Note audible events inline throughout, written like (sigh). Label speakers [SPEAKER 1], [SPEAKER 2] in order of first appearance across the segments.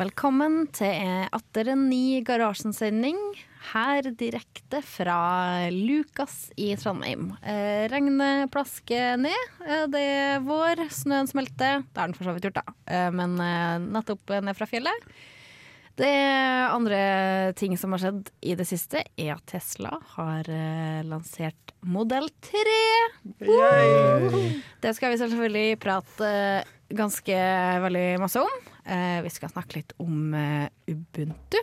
[SPEAKER 1] Velkommen til atter en ny Garasjen-sending. Her direkte fra Lukas i Trondheim. Eh, regnet plasker ned. Eh, det er vår, snøen smelter. Det har den for så vidt gjort, da. Eh, men eh, nettopp ned fra fjellet. Det andre ting som har skjedd i det siste, er at Tesla har eh, lansert modell 3. Det skal vi selvfølgelig prate eh, ganske veldig masse om. Eh, vi skal snakke litt om eh, Ubuntu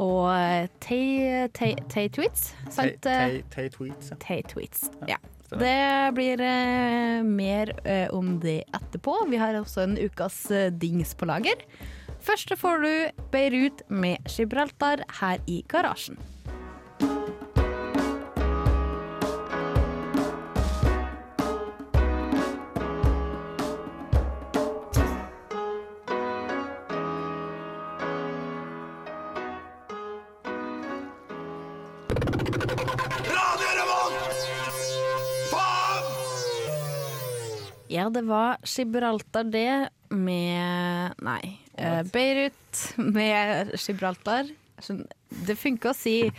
[SPEAKER 1] og eh, Tay- Tay- Tay-tweets. sant? Eh,
[SPEAKER 2] tweets, ja.
[SPEAKER 1] Tay-tweets. Ja. Det blir eh, mer eh, om det etterpå. Vi har også en ukas eh, dings på lager. Først så får du Beirut med Gibraltar her i garasjen. Ja, det var Gibraltar det med Nei. eh, Beirut med Gibraltar. Skjønn- Det funker å si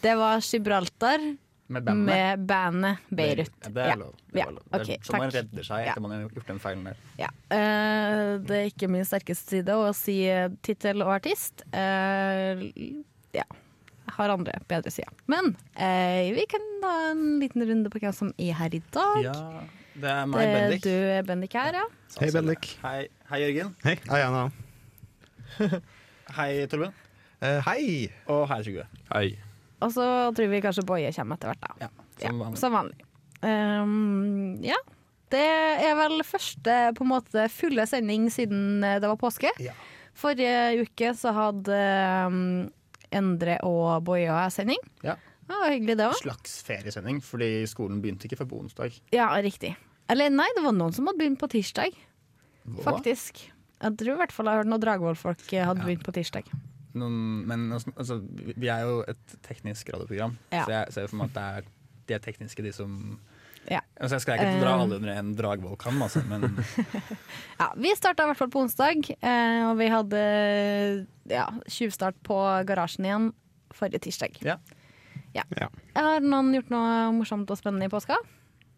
[SPEAKER 1] det var Gibraltar
[SPEAKER 2] Med
[SPEAKER 1] med bandet Beirut.
[SPEAKER 2] Ja, det er lov. Det
[SPEAKER 1] Ja,
[SPEAKER 2] er lov.
[SPEAKER 1] ja, ok,
[SPEAKER 2] det er sånn man
[SPEAKER 1] takk.
[SPEAKER 2] redder seg
[SPEAKER 1] Ja.
[SPEAKER 2] etter man har gjort den feilen der.
[SPEAKER 1] Ja. eh, det er ikke min sterkeste side å si eh, tittel og artist. Eh, ja. Jeg har andre bedre sider. Men eh, vi kan ta en liten runde på hvem som er her i dag.
[SPEAKER 2] Ja, det er meg,
[SPEAKER 1] Eh,
[SPEAKER 2] Bendik. Sånn
[SPEAKER 1] du er Bendik her, ja.
[SPEAKER 3] Hei, Bendik.
[SPEAKER 2] Hei, hei, Jørgen.
[SPEAKER 3] Hei. Hei, Anna.
[SPEAKER 2] (laughs) Hei, Torben.
[SPEAKER 3] Eh, hei!
[SPEAKER 2] Og hei, Trygve.
[SPEAKER 1] Og så tror vi kanskje Boje kommer etter hvert, da.
[SPEAKER 2] Ja,
[SPEAKER 1] Ja,
[SPEAKER 2] som vanlig.
[SPEAKER 1] Som vanlig. Ehm, ja. Det er vel første på en måte fulle sending siden eh, det var påske.
[SPEAKER 3] Ja.
[SPEAKER 1] Forrige uke så hadde ehm, Endre og Boje og jeg sending.
[SPEAKER 2] Ja.
[SPEAKER 1] Det var hyggelig, det òg.
[SPEAKER 2] Slags feriesending, fordi skolen begynte ikke før på onsdag.
[SPEAKER 1] Ja, riktig. Eller nei, det var noen som hadde begynt på tirsdag, faktisk. Jeg tror i hvert fall jeg har hørt noen Dragvoll-folk eh, hadde begynt på tirsdag.
[SPEAKER 2] Noen, men altså, vi er jo et teknisk radioprogram,
[SPEAKER 1] Ja.
[SPEAKER 2] så jeg ser for meg at det er de er tekniske, de som
[SPEAKER 1] Ja.
[SPEAKER 2] altså, Jeg skal ikke dra
[SPEAKER 1] Eh.
[SPEAKER 2] alle under en dragvollkam, altså, men
[SPEAKER 1] (laughs) Ja, vi starta i hvert fall på onsdag, eh, og vi hadde ja, tjuvstart på garasjen igjen forrige tirsdag.
[SPEAKER 2] ja.
[SPEAKER 4] Ja.
[SPEAKER 1] Har noen gjort noe morsomt og spennende i påska?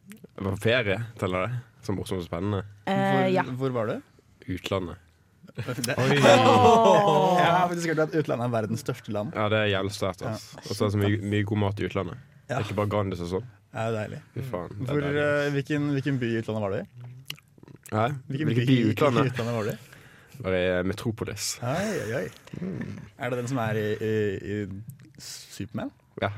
[SPEAKER 5] Jeg var på ferie, teller det? Så morsomt og spennende.
[SPEAKER 1] Eh,
[SPEAKER 2] Hvor,
[SPEAKER 1] ja.
[SPEAKER 2] hvor var du?
[SPEAKER 5] Utlandet.
[SPEAKER 2] Det-
[SPEAKER 1] Åh.
[SPEAKER 2] Jeg har faktisk hørt at utlandet er verdens største land.
[SPEAKER 5] Ja, det er jævlig sterkt. ass. Og så er det så mye, mye god mat i utlandet. Det
[SPEAKER 2] Ja.
[SPEAKER 5] er Ikke bare Grandis og sånn.
[SPEAKER 2] Det er jo deilig.
[SPEAKER 5] Fy faen. det er
[SPEAKER 2] Hvor,
[SPEAKER 5] deilig.
[SPEAKER 2] eh, hvilken, hvilken by i utlandet var du i?
[SPEAKER 5] Hæ?
[SPEAKER 2] Hvilken
[SPEAKER 5] Hvilken by i
[SPEAKER 2] hvilken by i
[SPEAKER 5] utlandet?
[SPEAKER 2] utlandet var du i?
[SPEAKER 5] Var i eh, Metropolis.
[SPEAKER 2] Oi, oi, oi. Er det den som er i, i, i Superman?
[SPEAKER 5] Ja.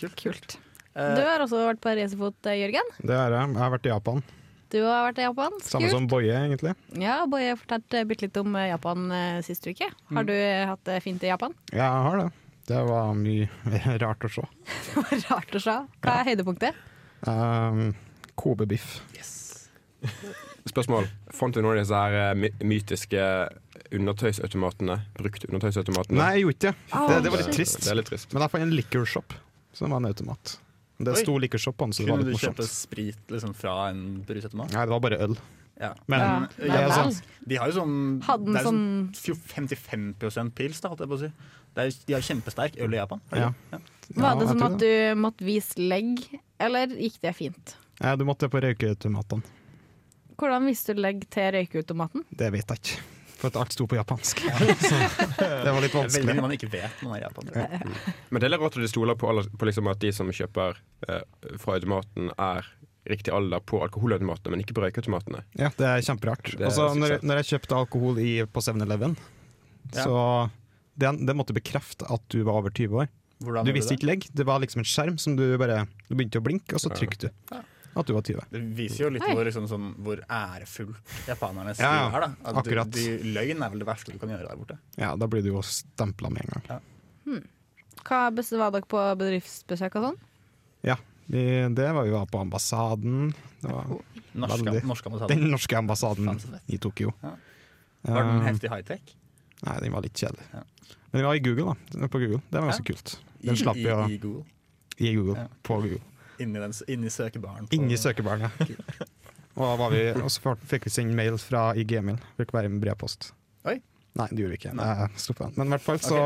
[SPEAKER 2] Kult.
[SPEAKER 1] Kult. Du
[SPEAKER 2] Eh,
[SPEAKER 1] har også vært på racerfot, eh, Jørgen.
[SPEAKER 3] Det er jeg. Jeg har vært i Japan.
[SPEAKER 1] Du har vært i Japan.
[SPEAKER 3] Samme
[SPEAKER 1] Kult.
[SPEAKER 3] som Boje, egentlig.
[SPEAKER 1] Ja, Boje fortalte bitte litt om eh, Japan eh, sist uke.
[SPEAKER 3] Mm.
[SPEAKER 1] Har du eh, hatt det fint i Japan? (laughs)
[SPEAKER 3] Ja, jeg har det. Det var mye (laughs) rart å se.
[SPEAKER 1] Det var rart å se. Hva er høydepunktet?
[SPEAKER 3] Um, Kobe-biff.
[SPEAKER 5] Spørsmål. Fant du noen av disse her eh, my- mytiske undertøysautomatene? Brukt undertøysautomatene?
[SPEAKER 3] Nei, jeg gjorde ikke det.
[SPEAKER 1] Å,
[SPEAKER 3] det. Det var litt
[SPEAKER 1] shit.
[SPEAKER 3] trist.
[SPEAKER 5] Det er litt trist.
[SPEAKER 3] Men jeg fant en liquorshop, som var en automat. Det
[SPEAKER 2] Oi.
[SPEAKER 3] sto liquorshop på den, så det var
[SPEAKER 2] kunne du
[SPEAKER 3] litt
[SPEAKER 2] kjøpe
[SPEAKER 3] morsomt.
[SPEAKER 2] sprit liksom, fra en brusautomat?
[SPEAKER 3] Nei, det var bare øl.
[SPEAKER 2] Ja.
[SPEAKER 3] Men
[SPEAKER 1] Ja,
[SPEAKER 2] det
[SPEAKER 3] det
[SPEAKER 2] er
[SPEAKER 3] er
[SPEAKER 1] vel.
[SPEAKER 3] sånn.
[SPEAKER 2] De har jo sånn
[SPEAKER 1] Hadde den
[SPEAKER 2] det er jo
[SPEAKER 1] sånn-
[SPEAKER 2] sånn 55 pils, da, holdt jeg på å si. Det er, jo- de har kjempesterk øl i Japan. har de
[SPEAKER 3] Ja.
[SPEAKER 2] ikke? Ja.
[SPEAKER 3] Ja,
[SPEAKER 1] Var det
[SPEAKER 3] jeg
[SPEAKER 1] som
[SPEAKER 3] tror
[SPEAKER 1] at du måtte vise legg, eller gikk det fint?
[SPEAKER 3] Ja, du måtte på røykeautomatene.
[SPEAKER 1] Hvordan viste du legg til røykeautomaten?
[SPEAKER 3] Det vet jeg ikke. For at alt sto på
[SPEAKER 1] (laughs)
[SPEAKER 3] japansk. Så det var litt
[SPEAKER 2] Veldig
[SPEAKER 3] vanskelig.
[SPEAKER 2] mye man ikke vet når man er japaner.
[SPEAKER 5] Men det er litt rart at de stoler på, alle, på liksom at de som kjøper eh, fra automaten, er riktig alder på alkoholautomatene, men ikke på røykeautomatene.
[SPEAKER 3] Ja, det er kjemperart.
[SPEAKER 5] Det er
[SPEAKER 3] Og så når,
[SPEAKER 5] suksess.
[SPEAKER 3] når jeg kjøpte alkohol i, på 7-Eleven,
[SPEAKER 2] Ja.
[SPEAKER 3] så det, det måtte bekrefte at du var over 20 år.
[SPEAKER 2] Hvordan
[SPEAKER 3] Du
[SPEAKER 2] gjorde
[SPEAKER 3] visste
[SPEAKER 2] det?
[SPEAKER 3] ikke legg, det var liksom en skjerm som du bare Du begynte å blinke, og så trykte du.
[SPEAKER 2] Ja.
[SPEAKER 3] At du var 20.
[SPEAKER 2] Det viser jo litt
[SPEAKER 1] Oi.
[SPEAKER 2] hvor, liksom, sånn, hvor ærefullt japanernes liv
[SPEAKER 3] Ja, ja.
[SPEAKER 2] er. da At du,
[SPEAKER 3] Akkurat.
[SPEAKER 2] du, Løgn er vel det verste du kan gjøre der borte.
[SPEAKER 3] Ja, da blir du jo stempla med en gang.
[SPEAKER 1] Hva bes- var dere på bedriftsbesøk og sånn?
[SPEAKER 3] Ja, vi, det var vi var på ambassaden. Det var
[SPEAKER 2] Norske,
[SPEAKER 3] Veldig.
[SPEAKER 2] norske ambassaden.
[SPEAKER 3] den norske ambassaden
[SPEAKER 2] Faen, så fett.
[SPEAKER 3] i Tokyo.
[SPEAKER 2] Ja. Var den
[SPEAKER 3] Eh,
[SPEAKER 2] heftig high-tech?
[SPEAKER 3] Nei, den var litt kjedelig.
[SPEAKER 2] Ja.
[SPEAKER 3] Men den var i Google, da. Den var På Google. Det var ganske kult. Den slapp
[SPEAKER 2] I,
[SPEAKER 3] vi å
[SPEAKER 2] i, i Google.
[SPEAKER 3] I Google.
[SPEAKER 2] Ja.
[SPEAKER 3] På Google.
[SPEAKER 2] Inni, den, inni søkebaren. på-
[SPEAKER 3] Inni søkebaren, ja. (laughs) Og, da var vi, og så fikk- fikk vi sendt mail fra i Gmail. Fikk være med brevpost.
[SPEAKER 2] Oi.
[SPEAKER 3] Nei, det gjorde vi ikke.
[SPEAKER 2] Nei.
[SPEAKER 3] Jeg stoppet den. Men i hvert fall så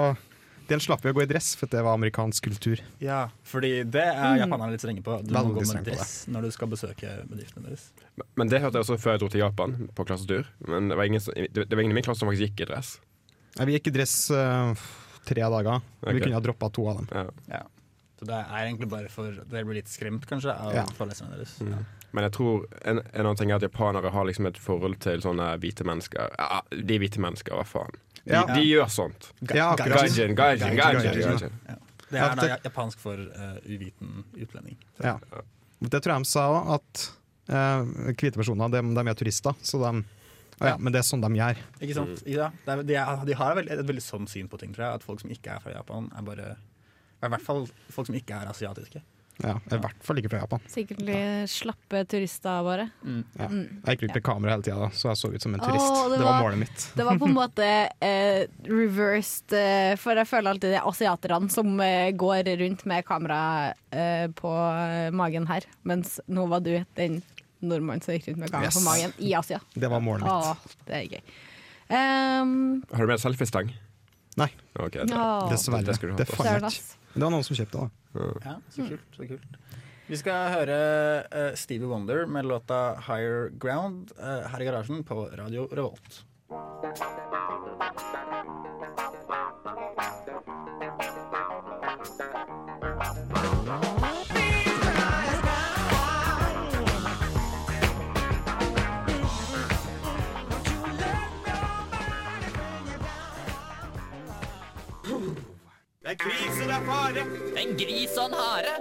[SPEAKER 3] Den slapp vi å gå i dress, for det var amerikansk kultur.
[SPEAKER 2] Ja, fordi det er japanerne litt strenge på. Du må
[SPEAKER 3] Veldig
[SPEAKER 2] gå
[SPEAKER 3] streng
[SPEAKER 2] med
[SPEAKER 3] på
[SPEAKER 2] dress når du skal besøke bedriftene deres.
[SPEAKER 5] Men- Men det hørte jeg også før jeg dro til Japan, på klassetur. Men det var ingen, som- det, det var ingen i min klasse som faktisk gikk i dress.
[SPEAKER 3] Nei, vi gikk i dress eh, tre dager.
[SPEAKER 5] Ok.
[SPEAKER 3] Vi kunne ha droppa to av dem.
[SPEAKER 5] Ja.
[SPEAKER 2] Ja. Så det er egentlig bare for Dere blir litt skremt, kanskje, av
[SPEAKER 3] Ja.
[SPEAKER 2] foreleserne deres.
[SPEAKER 5] Mm. Men jeg tror en, en annen ting er at japanere har liksom et forhold til sånne hvite mennesker. Ja, de er hvite mennesker, hva faen. De,
[SPEAKER 3] Ja.
[SPEAKER 5] de gjør sånt.
[SPEAKER 2] Ga-
[SPEAKER 3] Ja,
[SPEAKER 2] ga-
[SPEAKER 3] akkurat.
[SPEAKER 5] Gaijin, gaijin, gaijin. gaijin.
[SPEAKER 2] Det er da japansk for eh, uviten utlending.
[SPEAKER 3] Ja. Det tror jeg de sa òg, at eh, hvite personer de, de er turister. Så de, å ja, men det er sånn de gjør.
[SPEAKER 2] Ikke sant?
[SPEAKER 6] Mm.
[SPEAKER 2] Ja, det er, de, er, de har vel et veldig sånn syn på ting, tror jeg. At folk som ikke er fra Japan, er bare I hvert fall folk som ikke er asiatiske.
[SPEAKER 3] Ja, I hvert fall ikke fra Japan.
[SPEAKER 1] Sikkert litt slappe turister, bare.
[SPEAKER 3] Ja.
[SPEAKER 1] Mm.
[SPEAKER 3] Jeg gikk rundt med kamera hele tida, så jeg så ut som en
[SPEAKER 1] Åh,
[SPEAKER 3] turist. det,
[SPEAKER 1] det
[SPEAKER 3] var...
[SPEAKER 1] var-
[SPEAKER 3] målet mitt.
[SPEAKER 1] Det var på en måte eh, reversed, eh, for jeg føler alltid det er asiaterne som eh, går rundt med kamera eh, på magen her, mens nå var du den nordmannen som gikk rundt med kamera
[SPEAKER 3] Yes.
[SPEAKER 1] på magen i Asia.
[SPEAKER 3] Det var målet mitt.
[SPEAKER 1] Åh, det er gøy. Ehm,
[SPEAKER 5] Har du med selfiestang?
[SPEAKER 3] Nei,
[SPEAKER 5] Ok, det.
[SPEAKER 1] åh,
[SPEAKER 3] dessverre.
[SPEAKER 5] det skulle du ha
[SPEAKER 3] Det,
[SPEAKER 5] på.
[SPEAKER 3] fant jeg
[SPEAKER 1] søren,
[SPEAKER 3] ikke.
[SPEAKER 1] ass.
[SPEAKER 3] det var noen som kjøpte det. da.
[SPEAKER 2] Ja, så kult, så kult. Vi skal høre eh, Stevie Wonder med låta 'Higher Ground' eh, her i garasjen på Radio Revolt.
[SPEAKER 7] En gris og en hare.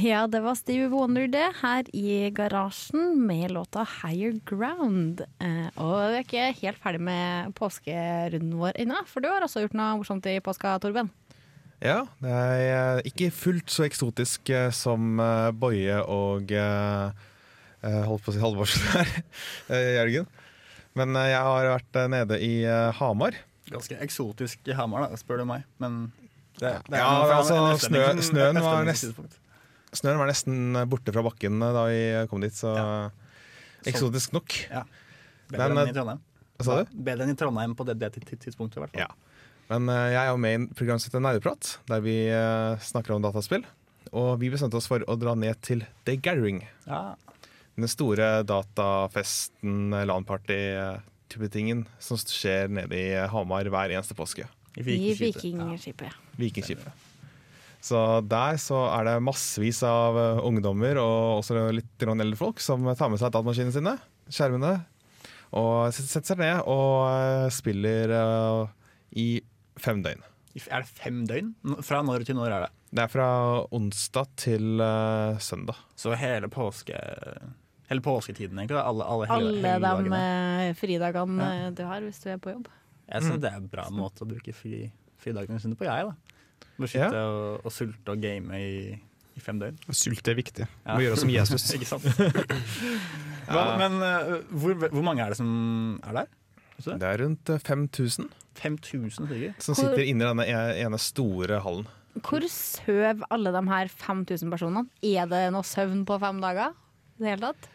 [SPEAKER 1] Ja, det var Stevie Wonder det, her i garasjen med låta 'Higher Ground'. Eh, og vi er ikke helt ferdig med påskerunden vår ennå, for du har også gjort noe morsomt i påska, Torben.
[SPEAKER 6] Ja, det er eh, ikke fullt så eksotisk eh, som eh, Boje og eh, eh, Holdt på å si Halvorsen (laughs) her, eh, Jørgen. Men eh, jeg har vært eh, nede i eh, Hamar.
[SPEAKER 2] Ganske eksotisk i Hamar, da, spør du meg. Men det, det
[SPEAKER 6] Ja,
[SPEAKER 2] noe for
[SPEAKER 6] altså,
[SPEAKER 2] en utlending
[SPEAKER 6] snø-
[SPEAKER 2] som-
[SPEAKER 6] snøen
[SPEAKER 2] et
[SPEAKER 6] var
[SPEAKER 2] utlendingstidspunkt.
[SPEAKER 6] Snøen var nesten eh, borte fra bakken eh, da vi eh, kom dit, så
[SPEAKER 2] Ja.
[SPEAKER 6] eh, eksotisk nok.
[SPEAKER 2] Ja. Bedre
[SPEAKER 6] Men,
[SPEAKER 2] enn i Trondheim.
[SPEAKER 6] Hva sa du?
[SPEAKER 2] Bedre enn i Trondheim på det, det tids- tidspunktet, i hvert fall.
[SPEAKER 6] Ja. Men eh, jeg er jo med i en program som heter Nerdeprat, der vi eh, snakker om dataspill. Og vi bestemte oss for å dra ned til The Gathering.
[SPEAKER 2] Ja.
[SPEAKER 6] Den store datafesten, LAN-party-type tingen som skjer nede i Hamar hver eneste påske.
[SPEAKER 2] I
[SPEAKER 1] I
[SPEAKER 2] Vikingskipet.
[SPEAKER 1] Vikingskipet. ja.
[SPEAKER 6] Vikingskipet. Så der så er det massevis av eh, ungdommer og også litt grann eldre folk som tar med seg datamaskinene sine, skjermene, og s- setter seg ned og eh, spiller eh, i fem døgn.
[SPEAKER 2] I f- Er det fem døgn? N- Fra når til når er det?
[SPEAKER 6] Det er fra onsdag til eh, søndag.
[SPEAKER 2] Så hele påske... Hele påsketiden, egentlig. da. Alle, alle, hele,
[SPEAKER 1] Alle de
[SPEAKER 2] helligdagene.
[SPEAKER 1] eh, fridagene eh, du har hvis du er på jobb.
[SPEAKER 2] Jeg synes det er en bra måte å bruke fri, fridagene sine på, jeg, da. Å sitte og, og sulte og game i, i fem (laughs) døgn.
[SPEAKER 3] Sult er viktig.
[SPEAKER 2] Ja.
[SPEAKER 3] Må gjøre (laughs) som Jesus.
[SPEAKER 2] Ikke (laughs) sant? Hva- Men eh, hvor, hvor mange er det som er der?
[SPEAKER 6] Det er rundt eh, 5000
[SPEAKER 2] 5000 stykker?
[SPEAKER 6] som sitter inne i denne e- ene store hallen.
[SPEAKER 1] Hvor søv alle de her 5000 personene? Er det noe søvn på fem dager? I det hele tatt?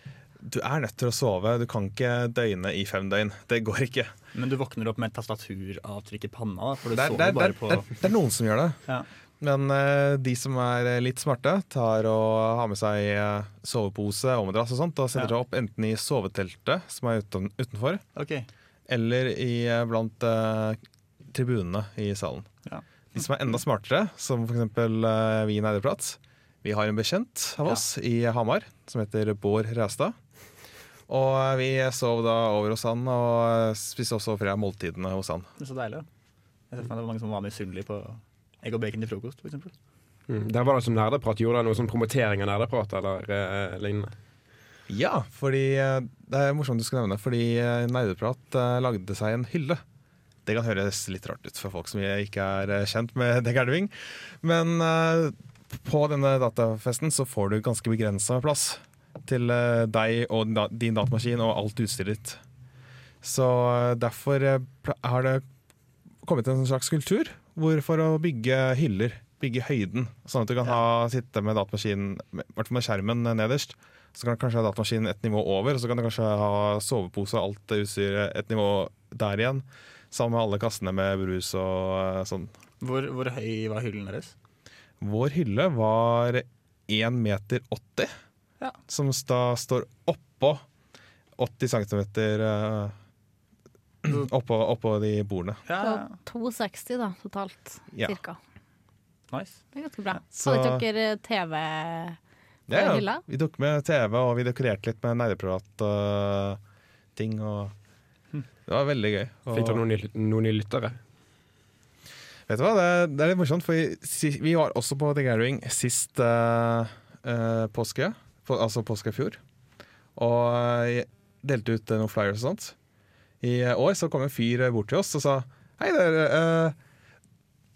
[SPEAKER 6] Du er nødt til å sove. Du kan ikke døgne i fem døgn. Det går ikke.
[SPEAKER 2] Men du våkner opp med et tastaturavtrykk i panna, da, for du
[SPEAKER 6] Det er,
[SPEAKER 2] sover
[SPEAKER 6] det, er, det,
[SPEAKER 2] bare
[SPEAKER 6] er,
[SPEAKER 2] på
[SPEAKER 6] det, er, det er noen som gjør det.
[SPEAKER 2] ja.
[SPEAKER 6] Men eh, de som er eh, litt smarte, tar og har med seg eh, sovepose og madrass og sånt, og setter
[SPEAKER 2] Ja.
[SPEAKER 6] seg opp enten i soveteltet, som er uten, utenfor,
[SPEAKER 2] Ok,
[SPEAKER 6] eller i, eh, blant eh, tribunene i salen.
[SPEAKER 2] Ja.
[SPEAKER 6] De som er enda smartere, som f.eks. Eh, vi i Neideprat. Vi har en bekjent av
[SPEAKER 2] Ja.
[SPEAKER 6] oss i Hamar som heter Bård Ræstad. Og eh, vi sov da over hos han, og eh, spiste også fra måltidene hos han.
[SPEAKER 2] det er så deilig. da. Jeg ser for meg det var mange som var misunnelige på egg og bacon til frokost, for eksempel.
[SPEAKER 5] Mm. Der var det som nerdeprat. Gjorde dere noe sånn promotering av nerdeprat eller eh, lignende?
[SPEAKER 6] Ja, fordi eh, det er morsomt du skulle nevne Fordi eh, Nerdeprat eh, lagde seg en hylle Det kan høres litt rart ut for folk som ikke er eh, kjent med (laughs) Deg Elving Men eh, på denne datafesten så får du ganske begrenset plass Til eh, deg og din da- din datamaskin og alt utstyret ditt Så eh, derfor eh, pla- har det kommet en slags kultur hvor For å bygge hyller, bygge høyden Sånn at du kan ha, sitte med datamaskinen med- I hvert fall med skjermen eh, nederst så kan du kanskje ha datamaskinen et nivå over, og så kan du kanskje ha sovepose og alt det utstyret et nivå der igjen. Sammen med alle kassene med brus og eh, sånn.
[SPEAKER 2] Hvor, hvor høy var hyllen deres?
[SPEAKER 6] Vår hylle var 1,80 meter,
[SPEAKER 2] Ja.
[SPEAKER 6] som da står oppå 80 cm
[SPEAKER 1] Mm.
[SPEAKER 6] oppå, oppå de bordene.
[SPEAKER 2] Ja,
[SPEAKER 1] Så 260 da, totalt,
[SPEAKER 6] Ja.
[SPEAKER 1] cirka.
[SPEAKER 2] nice.
[SPEAKER 1] Det er ganske bra.
[SPEAKER 6] Så-
[SPEAKER 1] Hadde dere TV på
[SPEAKER 6] Ja, ja.
[SPEAKER 1] hylla?
[SPEAKER 6] Vi tok med TV, og vi dekorerte litt med nerdeprivat-ting. og
[SPEAKER 1] Hm.
[SPEAKER 6] det var veldig gøy.
[SPEAKER 5] Fikk dere
[SPEAKER 6] Og-
[SPEAKER 5] noen, ny- noen nye lyttere?
[SPEAKER 6] Vet du hva, det, det er litt morsomt, for vi, si- vi var også på The Gathering sist eh, eh, påske, på, altså påske i fjor, og eh, delte ut eh, noen flyers og sånt. I eh, år så kom en fyr eh, bort til oss og sa Hei, dere, eh,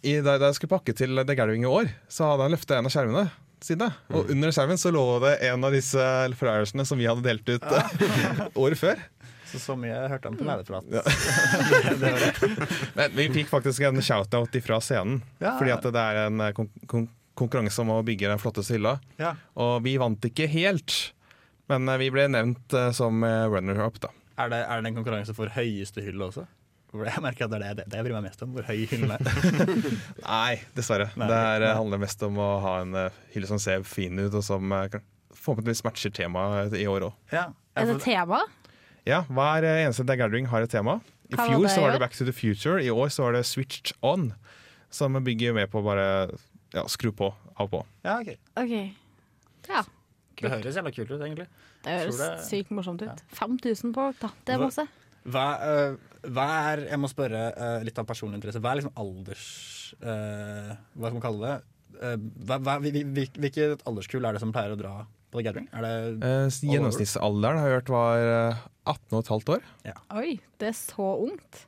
[SPEAKER 6] i, da, da jeg skulle pakke til The Gathering i år, så hadde han løftet en av skjermene sine. Og under skjermen så lå det en av disse flyersene som vi hadde delt ut eh, (laughs) året før.
[SPEAKER 2] Så så mye jeg hørte om på næreprat. (laughs)
[SPEAKER 6] Ja. Men vi fikk faktisk en shout-out fra scenen.
[SPEAKER 2] Ja.
[SPEAKER 6] Fordi at det er en eh, kon kon konkurranse om å bygge den flotteste hylla.
[SPEAKER 2] Ja.
[SPEAKER 6] Og vi vant ikke helt, men eh, vi ble nevnt eh, som eh, runner-up, da.
[SPEAKER 2] Er, det, er det en konkurranse for høyeste hylle også? Hvor jeg merker at det er det, det jeg bryr meg mest om, hvor høy hyllen er.
[SPEAKER 6] Nei, dessverre.
[SPEAKER 2] Nei.
[SPEAKER 6] det er, eh, handler mest om å ha en eh, hylle som ser fin ut, og som eh, kan- forhåpentligvis matcher temaet i år òg.
[SPEAKER 2] (laughs) Ja.
[SPEAKER 1] Er det tema?
[SPEAKER 6] Ja, hver eh, eneste The Gathering har et tema. I
[SPEAKER 1] Hva var
[SPEAKER 6] fjor
[SPEAKER 1] det
[SPEAKER 6] så
[SPEAKER 1] i
[SPEAKER 6] var
[SPEAKER 1] år?
[SPEAKER 6] det Back to the Future, i år så var det Switched On. Som bygger med på å bare ja, skru på av og på.
[SPEAKER 2] Ja, ok.
[SPEAKER 1] Ok. Ja,
[SPEAKER 2] Det høres jævla kult ut, egentlig.
[SPEAKER 1] det høres
[SPEAKER 2] Tror det-
[SPEAKER 1] sykt morsomt ut. 5000 på da, det er
[SPEAKER 2] Hva-
[SPEAKER 1] masse.
[SPEAKER 2] Hva, eh, hva er Jeg må spørre eh, litt av personlig interesse. Hva er liksom alders... eh, hva skal man kalle det? Eh, hva, hva, hvil- hvil- hvilket alderskull er det som pleier å dra på The Gathering? Er det
[SPEAKER 6] Eh, gjennomsnittsalderen har jeg hørt var eh, 18 og et halvt år.
[SPEAKER 1] Oi, det er så ungt.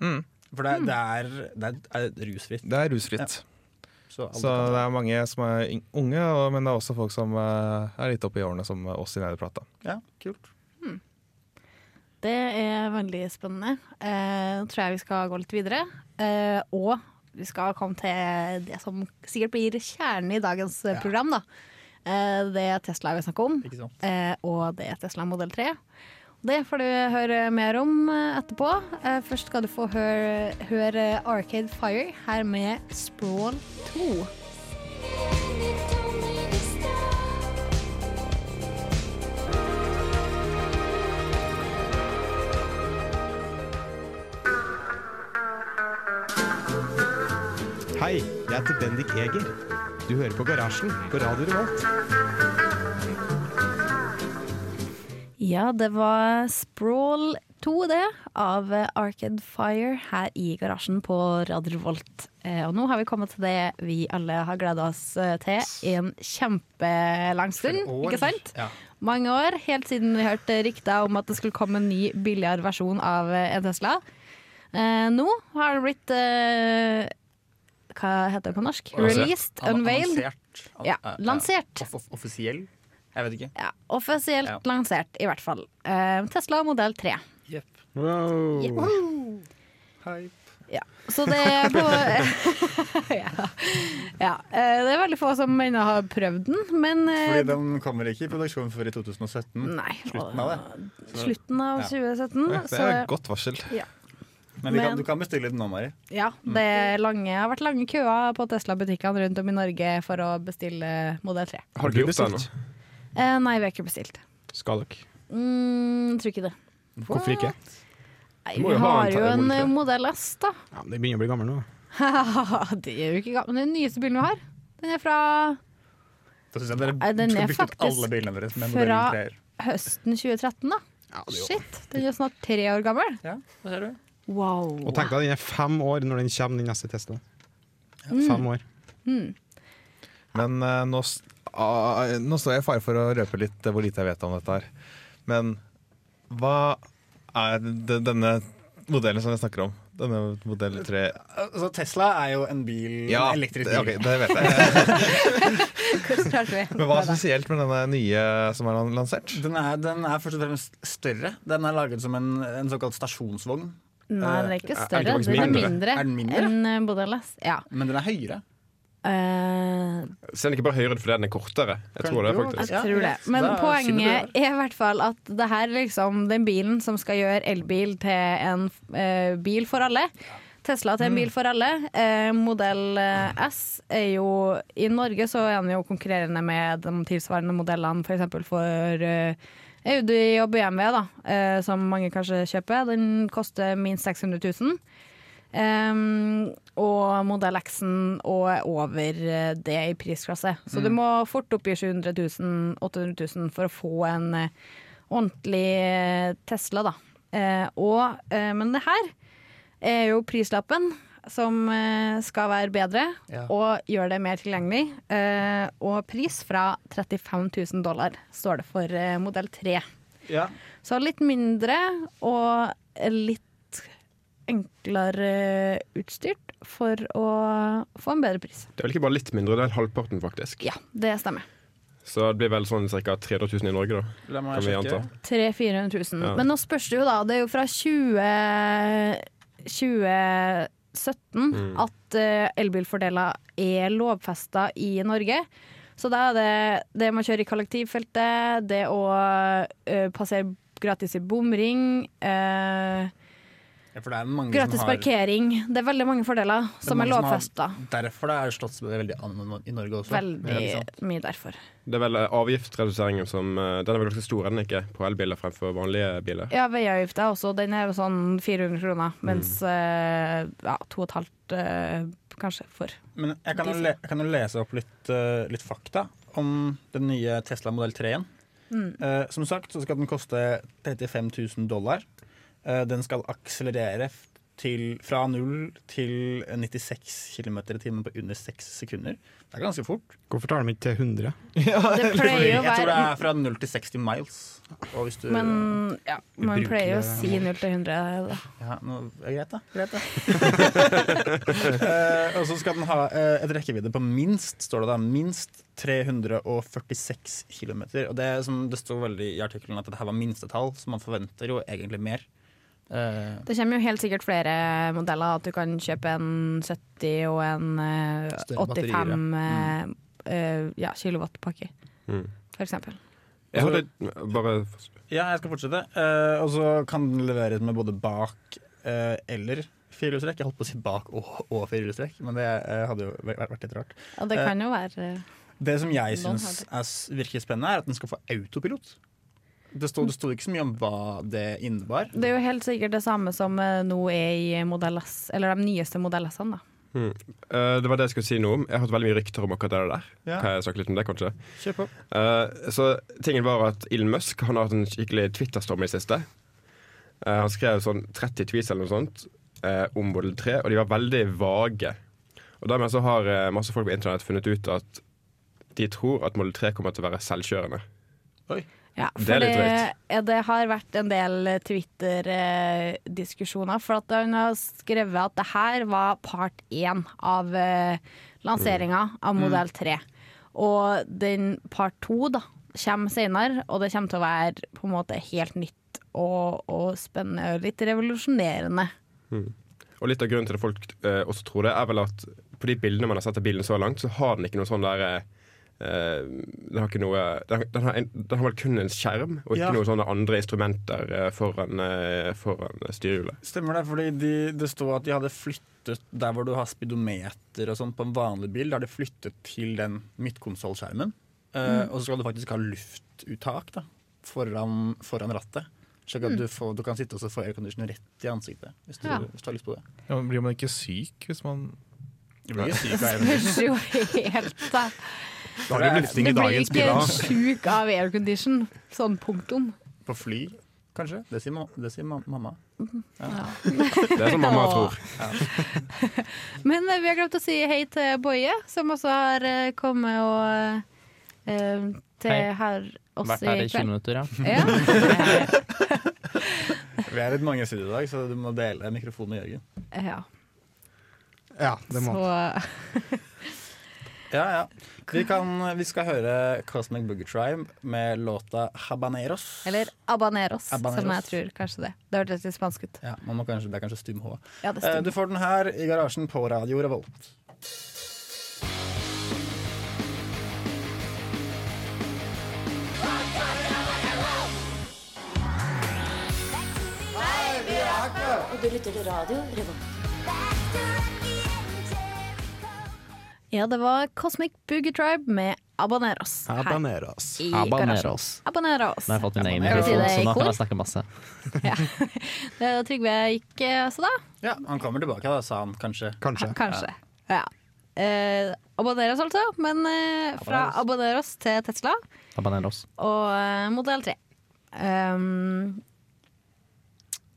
[SPEAKER 2] For det, er- det, er, det er, er rusfritt.
[SPEAKER 6] Det er rusfritt.
[SPEAKER 2] Så alle
[SPEAKER 6] Så
[SPEAKER 2] kan
[SPEAKER 6] det
[SPEAKER 2] dra.
[SPEAKER 6] er mange som er ing- unge, og- men det er også folk som eh, er litt oppe i årene, som oss i Nederplata.
[SPEAKER 2] Ja, kult.
[SPEAKER 1] Det er veldig spennende. Eh, Nå tror jeg vi skal gå litt videre. Eh, og vi skal komme til det som sikkert blir kjernen i dagens eh, program. Da. Eh, det er Tesla vi snakker om,
[SPEAKER 2] Ikke sant?
[SPEAKER 1] eh, og det er Tesla modell 3. Det får du høre mer om eh, etterpå. Eh, først skal du få høre, høre Arcade Fire her med Sprawl 2.
[SPEAKER 3] Hei, jeg heter Bendik Eger. Du hører på Garasjen på Radio Revolt.
[SPEAKER 1] Ja, det var Sprawl 2, det, av eh, Arcade Fire her i garasjen på Radio Revolt. Eh, Og nå har vi kommet til det vi alle har gleda oss eh, til i en kjempelang stund, ikke sant?
[SPEAKER 2] Ja.
[SPEAKER 1] Mange år, helt siden vi hørte rykter om at det skulle komme en ny, billigere versjon av eh, en Tesla. Eh, nå har den blitt eh, Hva heter det på norsk? Released?
[SPEAKER 2] An-
[SPEAKER 1] Unveiled?
[SPEAKER 2] annonsert. An-
[SPEAKER 1] Ja,
[SPEAKER 2] eh,
[SPEAKER 1] lansert.
[SPEAKER 2] Off off offisiell? Jeg vet ikke.
[SPEAKER 1] Ja, offisielt
[SPEAKER 2] Ja.
[SPEAKER 1] lansert, i hvert fall. Eh, Tesla modell 3.
[SPEAKER 2] Jepp.
[SPEAKER 1] Yep.
[SPEAKER 2] Hype.
[SPEAKER 1] Ja. Så det er på
[SPEAKER 2] (laughs)
[SPEAKER 1] ja. ja. eh, Det er veldig få som ennå har prøvd den, men eh,
[SPEAKER 2] Fordi den kommer ikke i produksjon før i 2017.
[SPEAKER 1] Nei.
[SPEAKER 2] Slutten av det.
[SPEAKER 1] Slutten av
[SPEAKER 2] Ja.
[SPEAKER 1] 2017.
[SPEAKER 6] Det
[SPEAKER 1] Så
[SPEAKER 6] er et godt varsel.
[SPEAKER 2] Men, vi kan,
[SPEAKER 1] Men-
[SPEAKER 2] du kan bestille den nå, Mari.
[SPEAKER 1] Ja, det
[SPEAKER 5] Mm.
[SPEAKER 1] er lange, har vært lange køer på Tesla-butikkene rundt om i Norge for å bestille modell 3.
[SPEAKER 5] Har dere gjort det ennå?
[SPEAKER 1] Eh, nei, vi har ikke bestilt.
[SPEAKER 4] Skal dere?
[SPEAKER 1] Mm, tror ikke det.
[SPEAKER 4] Hvorfor ikke?
[SPEAKER 1] Nei,
[SPEAKER 5] Du må
[SPEAKER 1] vi
[SPEAKER 5] jo ha
[SPEAKER 1] har
[SPEAKER 5] en
[SPEAKER 1] jo en
[SPEAKER 5] modell 3.
[SPEAKER 1] modell S, da.
[SPEAKER 4] Ja, men De begynner å bli gamle nå.
[SPEAKER 1] (laughs) det er jo ikke gammel. Den nyeste bilen vi har. Den er fra
[SPEAKER 2] Da syns jeg dere
[SPEAKER 1] Nei, den er
[SPEAKER 2] burde bytte ut
[SPEAKER 1] faktisk
[SPEAKER 2] alle bilene deres med
[SPEAKER 1] fra-
[SPEAKER 2] modellen treer.
[SPEAKER 1] høsten 2013, da. Shit, den er jo snart tre år gammel.
[SPEAKER 2] Ja, det ser du.
[SPEAKER 1] Wow. (laughs)
[SPEAKER 3] Og tenk deg, den er fem år når den kommer, den neste testen. Fem
[SPEAKER 1] Mm.
[SPEAKER 3] år.
[SPEAKER 6] Men eh, nå, s- ah, nå står jeg i fare for å røpe litt eh, hvor lite jeg vet om dette her. Men hva er de- denne modellen som jeg snakker om? Denne modell 3
[SPEAKER 2] Altså, Tesla er jo en bil, en elektrisk
[SPEAKER 6] det,
[SPEAKER 2] bil.
[SPEAKER 6] ok, det vet jeg. Eh,
[SPEAKER 1] Hvordan klarte vi?
[SPEAKER 2] (laughs)
[SPEAKER 6] Men hva er spesielt med denne nye som er lan- lansert?
[SPEAKER 2] Den er, den er først og fremst større. Den er laget som en, en såkalt stasjonsvogn,
[SPEAKER 1] Nei, den er ikke
[SPEAKER 5] er
[SPEAKER 1] større.
[SPEAKER 5] den faktisk
[SPEAKER 1] Den er mindre
[SPEAKER 5] mindre?
[SPEAKER 2] Er den mindre?
[SPEAKER 1] enn eh, modell S. Ja.
[SPEAKER 2] men den er høyere.
[SPEAKER 1] Eh,
[SPEAKER 5] Ser den ikke bare høyere ut fordi den er kortere? Jeg tror det,
[SPEAKER 2] Jo,
[SPEAKER 5] faktisk.
[SPEAKER 2] Ja,
[SPEAKER 1] Jeg tror det.
[SPEAKER 2] yes,
[SPEAKER 1] Men
[SPEAKER 2] da skinner du
[SPEAKER 1] poenget er i hvert fall at det her er liksom den bilen som skal gjøre elbil til en eh, bil for alle. Tesla til en bil for alle. Eh, modell eh, S er jo I Norge så er den jo konkurrerende med de tilsvarende modellene f.eks. for, for eh, Audi og BMW, da, eh, som mange kanskje kjøper. Den koster minst 600 000. Ehm, og modell X-en og er over eh, det i prisklasse. Så
[SPEAKER 2] Mm.
[SPEAKER 1] du må fort opp i 700 000-800 000 for å få en eh, ordentlig eh, Tesla, da. Eh, og, eh, men det her er jo prislappen som eh, skal være bedre
[SPEAKER 2] Ja.
[SPEAKER 1] og gjøre det mer tilgjengelig. Eh, og pris fra 35 000 dollar står det for eh, modell 3.
[SPEAKER 2] Ja.
[SPEAKER 1] Så litt mindre og litt enklere utstyrt for å få en bedre pris.
[SPEAKER 5] det er vel ikke bare litt mindre, det er halvparten, faktisk.
[SPEAKER 1] Ja, det stemmer.
[SPEAKER 5] Så det blir vel sånn ca. 300 000 i Norge, da.
[SPEAKER 2] La meg
[SPEAKER 5] Kan vi
[SPEAKER 2] sjekke.
[SPEAKER 5] anta.
[SPEAKER 1] 300 000.
[SPEAKER 5] Ja.
[SPEAKER 1] Men nå spørs det jo, da. Det er jo fra 20, 2017 at eh, elbilfordeler er lovfesta i Norge. Så da er det det med å kjøre i kollektivfeltet, det å eh, passere gratis i bomring eh,
[SPEAKER 2] Ja, for det er mange
[SPEAKER 1] Gratis
[SPEAKER 2] som har,
[SPEAKER 1] parkering. Det er veldig mange fordeler
[SPEAKER 2] det er
[SPEAKER 1] som er,
[SPEAKER 2] mange har-
[SPEAKER 1] lovfesta.
[SPEAKER 2] Derfor det er slått veldig an i Norge også.
[SPEAKER 1] Veldig
[SPEAKER 2] Ja, ikke sant?
[SPEAKER 1] mye derfor.
[SPEAKER 5] Det er vel eh, avgiftsreduseringen som eh, Den er vel ganske stor, er den ikke? På elbiler fremfor vanlige biler.
[SPEAKER 1] Ja, veiavgifta også. Den er jo sånn 400 kroner, mens
[SPEAKER 2] Mm.
[SPEAKER 1] eh, ja, to og et halvt eh, kanskje for.
[SPEAKER 2] Men jeg kan, jo le, jeg kan jo lese opp litt, eh, litt fakta om den nye Tesla modell 3 igjen.
[SPEAKER 1] Mm.
[SPEAKER 2] Eh, som sagt så skal den koste 35 000 dollar. Eh, den skal akselerere f- til, fra 0 til 96 km i timen på under 6 sekunder. Det er ganske fort.
[SPEAKER 3] Hvorfor tar de ikke til 100?
[SPEAKER 1] Det pleier
[SPEAKER 2] Jeg
[SPEAKER 1] jo å
[SPEAKER 2] tror (laughs) det
[SPEAKER 1] være
[SPEAKER 2] er fra 0 til 60 miles. Og hvis du,
[SPEAKER 1] Men ja, man
[SPEAKER 3] bruker
[SPEAKER 1] pleier jo å
[SPEAKER 3] det-
[SPEAKER 1] si 0 til 100. Da.
[SPEAKER 2] Ja, nå, ja, greit, da. Greit, da. eh, og så skal den ha eh, et rekkevidde på minst står det da, minst 346 km. Og det, som det sto veldig i artikkelen at dette her var minstetall, så man forventer jo egentlig mer. Eh,
[SPEAKER 1] Det kommer jo helt sikkert flere modeller. At du kan kjøpe en 70 og en eh,
[SPEAKER 2] Større
[SPEAKER 1] 85
[SPEAKER 2] Mm.
[SPEAKER 1] eh, eh, ja, kilowattpakke,
[SPEAKER 5] Mm.
[SPEAKER 1] for eksempel.
[SPEAKER 5] Jeg hørte bare
[SPEAKER 2] ja, jeg skal fortsette. Eh, og så kan den leveres med både bak eh, eller firehjulstrekk. Jeg holdt på å si bak og, og firehjulstrekk, men det eh, hadde jo vært- vært litt rart.
[SPEAKER 1] Og det
[SPEAKER 2] Eh,
[SPEAKER 1] kan jo være
[SPEAKER 2] Det som jeg
[SPEAKER 1] Noen har
[SPEAKER 2] syns
[SPEAKER 1] det.
[SPEAKER 2] er s- virker spennende, er at den skal få autopilot. Det sto, det sto ikke så mye om hva det innebar.
[SPEAKER 1] Det er jo helt sikkert det samme som eh, nå er i Modell S, eller de nyeste Modell S-ene. da.
[SPEAKER 5] eh, Det var det jeg skulle si noe om. Jeg har hørt veldig mye rykter om akkurat det der.
[SPEAKER 2] Ja.
[SPEAKER 5] Kan jeg snakke litt om det, kanskje?
[SPEAKER 2] Kjør på.
[SPEAKER 5] Eh, så tingen var at Elon Musk han har hatt en skikkelig Twitter-storm i det siste. Eh, han skrev sånn 30 tweets eller noe sånt eh, om modell 3, og de var veldig vage. Og dermed så har eh, masse folk på internett funnet ut at de tror at modell 3 kommer til å være selvkjørende.
[SPEAKER 1] Ja,
[SPEAKER 5] Det
[SPEAKER 1] for
[SPEAKER 5] er litt
[SPEAKER 1] det, ja, det har vært en del eh, Twitter-diskusjoner, for at hun har skrevet at det her var part én av eh, lanseringa
[SPEAKER 5] Mm.
[SPEAKER 1] av modell 3. Og den part to da, kommer senere, og det kommer til å være på en måte helt nytt og, og spennende og litt revolusjonerende. (laughs)
[SPEAKER 5] Og litt av grunnen til at folk eh, også tror det, er vel at på de bildene man har sett av bilen så langt, så har den ikke noe sånn der eh, eh, den har ikke noe Den, den, har, en, den har vel kun en skjerm, og ikke
[SPEAKER 2] Ja.
[SPEAKER 5] noen sånne andre instrumenter eh, foran, eh, foran styrehjulet.
[SPEAKER 2] Stemmer det, fordi de, det sto at de hadde flyttet der hvor du har speedometer og sånn på en vanlig bil, da har de flyttet til den midtkonsollskjermen.
[SPEAKER 1] Mm.
[SPEAKER 2] Eh, Og så skal du faktisk ha luftuttak da, foran, foran rattet. Slik at du, får, du kan sitte og så få aircondition rett i ansiktet. Hvis du,
[SPEAKER 1] Mm. Ja.
[SPEAKER 2] hvis du har lyst på det.
[SPEAKER 6] Ja, men blir man ikke syk hvis man
[SPEAKER 2] Du blir ikke syk av (laughs) aircondition.
[SPEAKER 1] Spørs jo helt, da.
[SPEAKER 4] Da har du lufting
[SPEAKER 1] Du
[SPEAKER 4] i
[SPEAKER 1] blir
[SPEAKER 4] dagens
[SPEAKER 1] ikke
[SPEAKER 4] bilag.
[SPEAKER 1] sjuk av aircondition. Sånn punktum.
[SPEAKER 2] På fly, kanskje. Det sier, ma det sier ma mamma.
[SPEAKER 5] Det er sånn mamma tror.
[SPEAKER 1] Men eh, vi har glemt å si hei til Boje, som også har eh, kommet og eh, til
[SPEAKER 8] Hei.
[SPEAKER 1] her oss
[SPEAKER 8] Vært her
[SPEAKER 1] i
[SPEAKER 8] i 20
[SPEAKER 1] kveld.
[SPEAKER 8] minutter, ja.
[SPEAKER 1] Ja.
[SPEAKER 8] (laughs)
[SPEAKER 2] Vi er litt mange i studio i dag, så du må dele mikrofonen med Jørgen.
[SPEAKER 1] ja.
[SPEAKER 3] Ja, det må.
[SPEAKER 1] Så
[SPEAKER 2] Ja, ja. Vi, kan, vi skal høre Cosmic Boogie Tribe med låta 'Habaneros'.
[SPEAKER 1] Eller abaneros, som jeg
[SPEAKER 2] Habaneros.
[SPEAKER 1] tror kanskje det. Det hørtes litt spansk ut.
[SPEAKER 2] ja, man må kanskje, Det er kanskje stum H.
[SPEAKER 1] Ja, det
[SPEAKER 2] Eh,
[SPEAKER 1] stemmer.
[SPEAKER 2] Du får den her i garasjen på Radio Revolt.
[SPEAKER 9] Og du lytter til radio Revolt.
[SPEAKER 1] Ja, det var Cosmic Boogie Tribe med Abaneros. her
[SPEAKER 3] Habaneros.
[SPEAKER 1] i garasjen.
[SPEAKER 8] Abaneros.
[SPEAKER 1] Abaneros.
[SPEAKER 8] Nå har jeg fått min
[SPEAKER 1] Skal vi
[SPEAKER 8] egen
[SPEAKER 1] si
[SPEAKER 8] mikrofon,
[SPEAKER 1] det i
[SPEAKER 8] så nå
[SPEAKER 1] kor?
[SPEAKER 8] kan jeg snakke masse.
[SPEAKER 1] (laughs) Eh, Trygve gikk eh, så da.
[SPEAKER 2] Ja, Han kommer tilbake, da, sa han kanskje.
[SPEAKER 3] Kanskje.
[SPEAKER 1] Kanskje. Ja. Eh, Abaneros altså, men eh, fra Abaneros til Tesla
[SPEAKER 8] Abaneros.
[SPEAKER 1] og eh, modell 3. Um,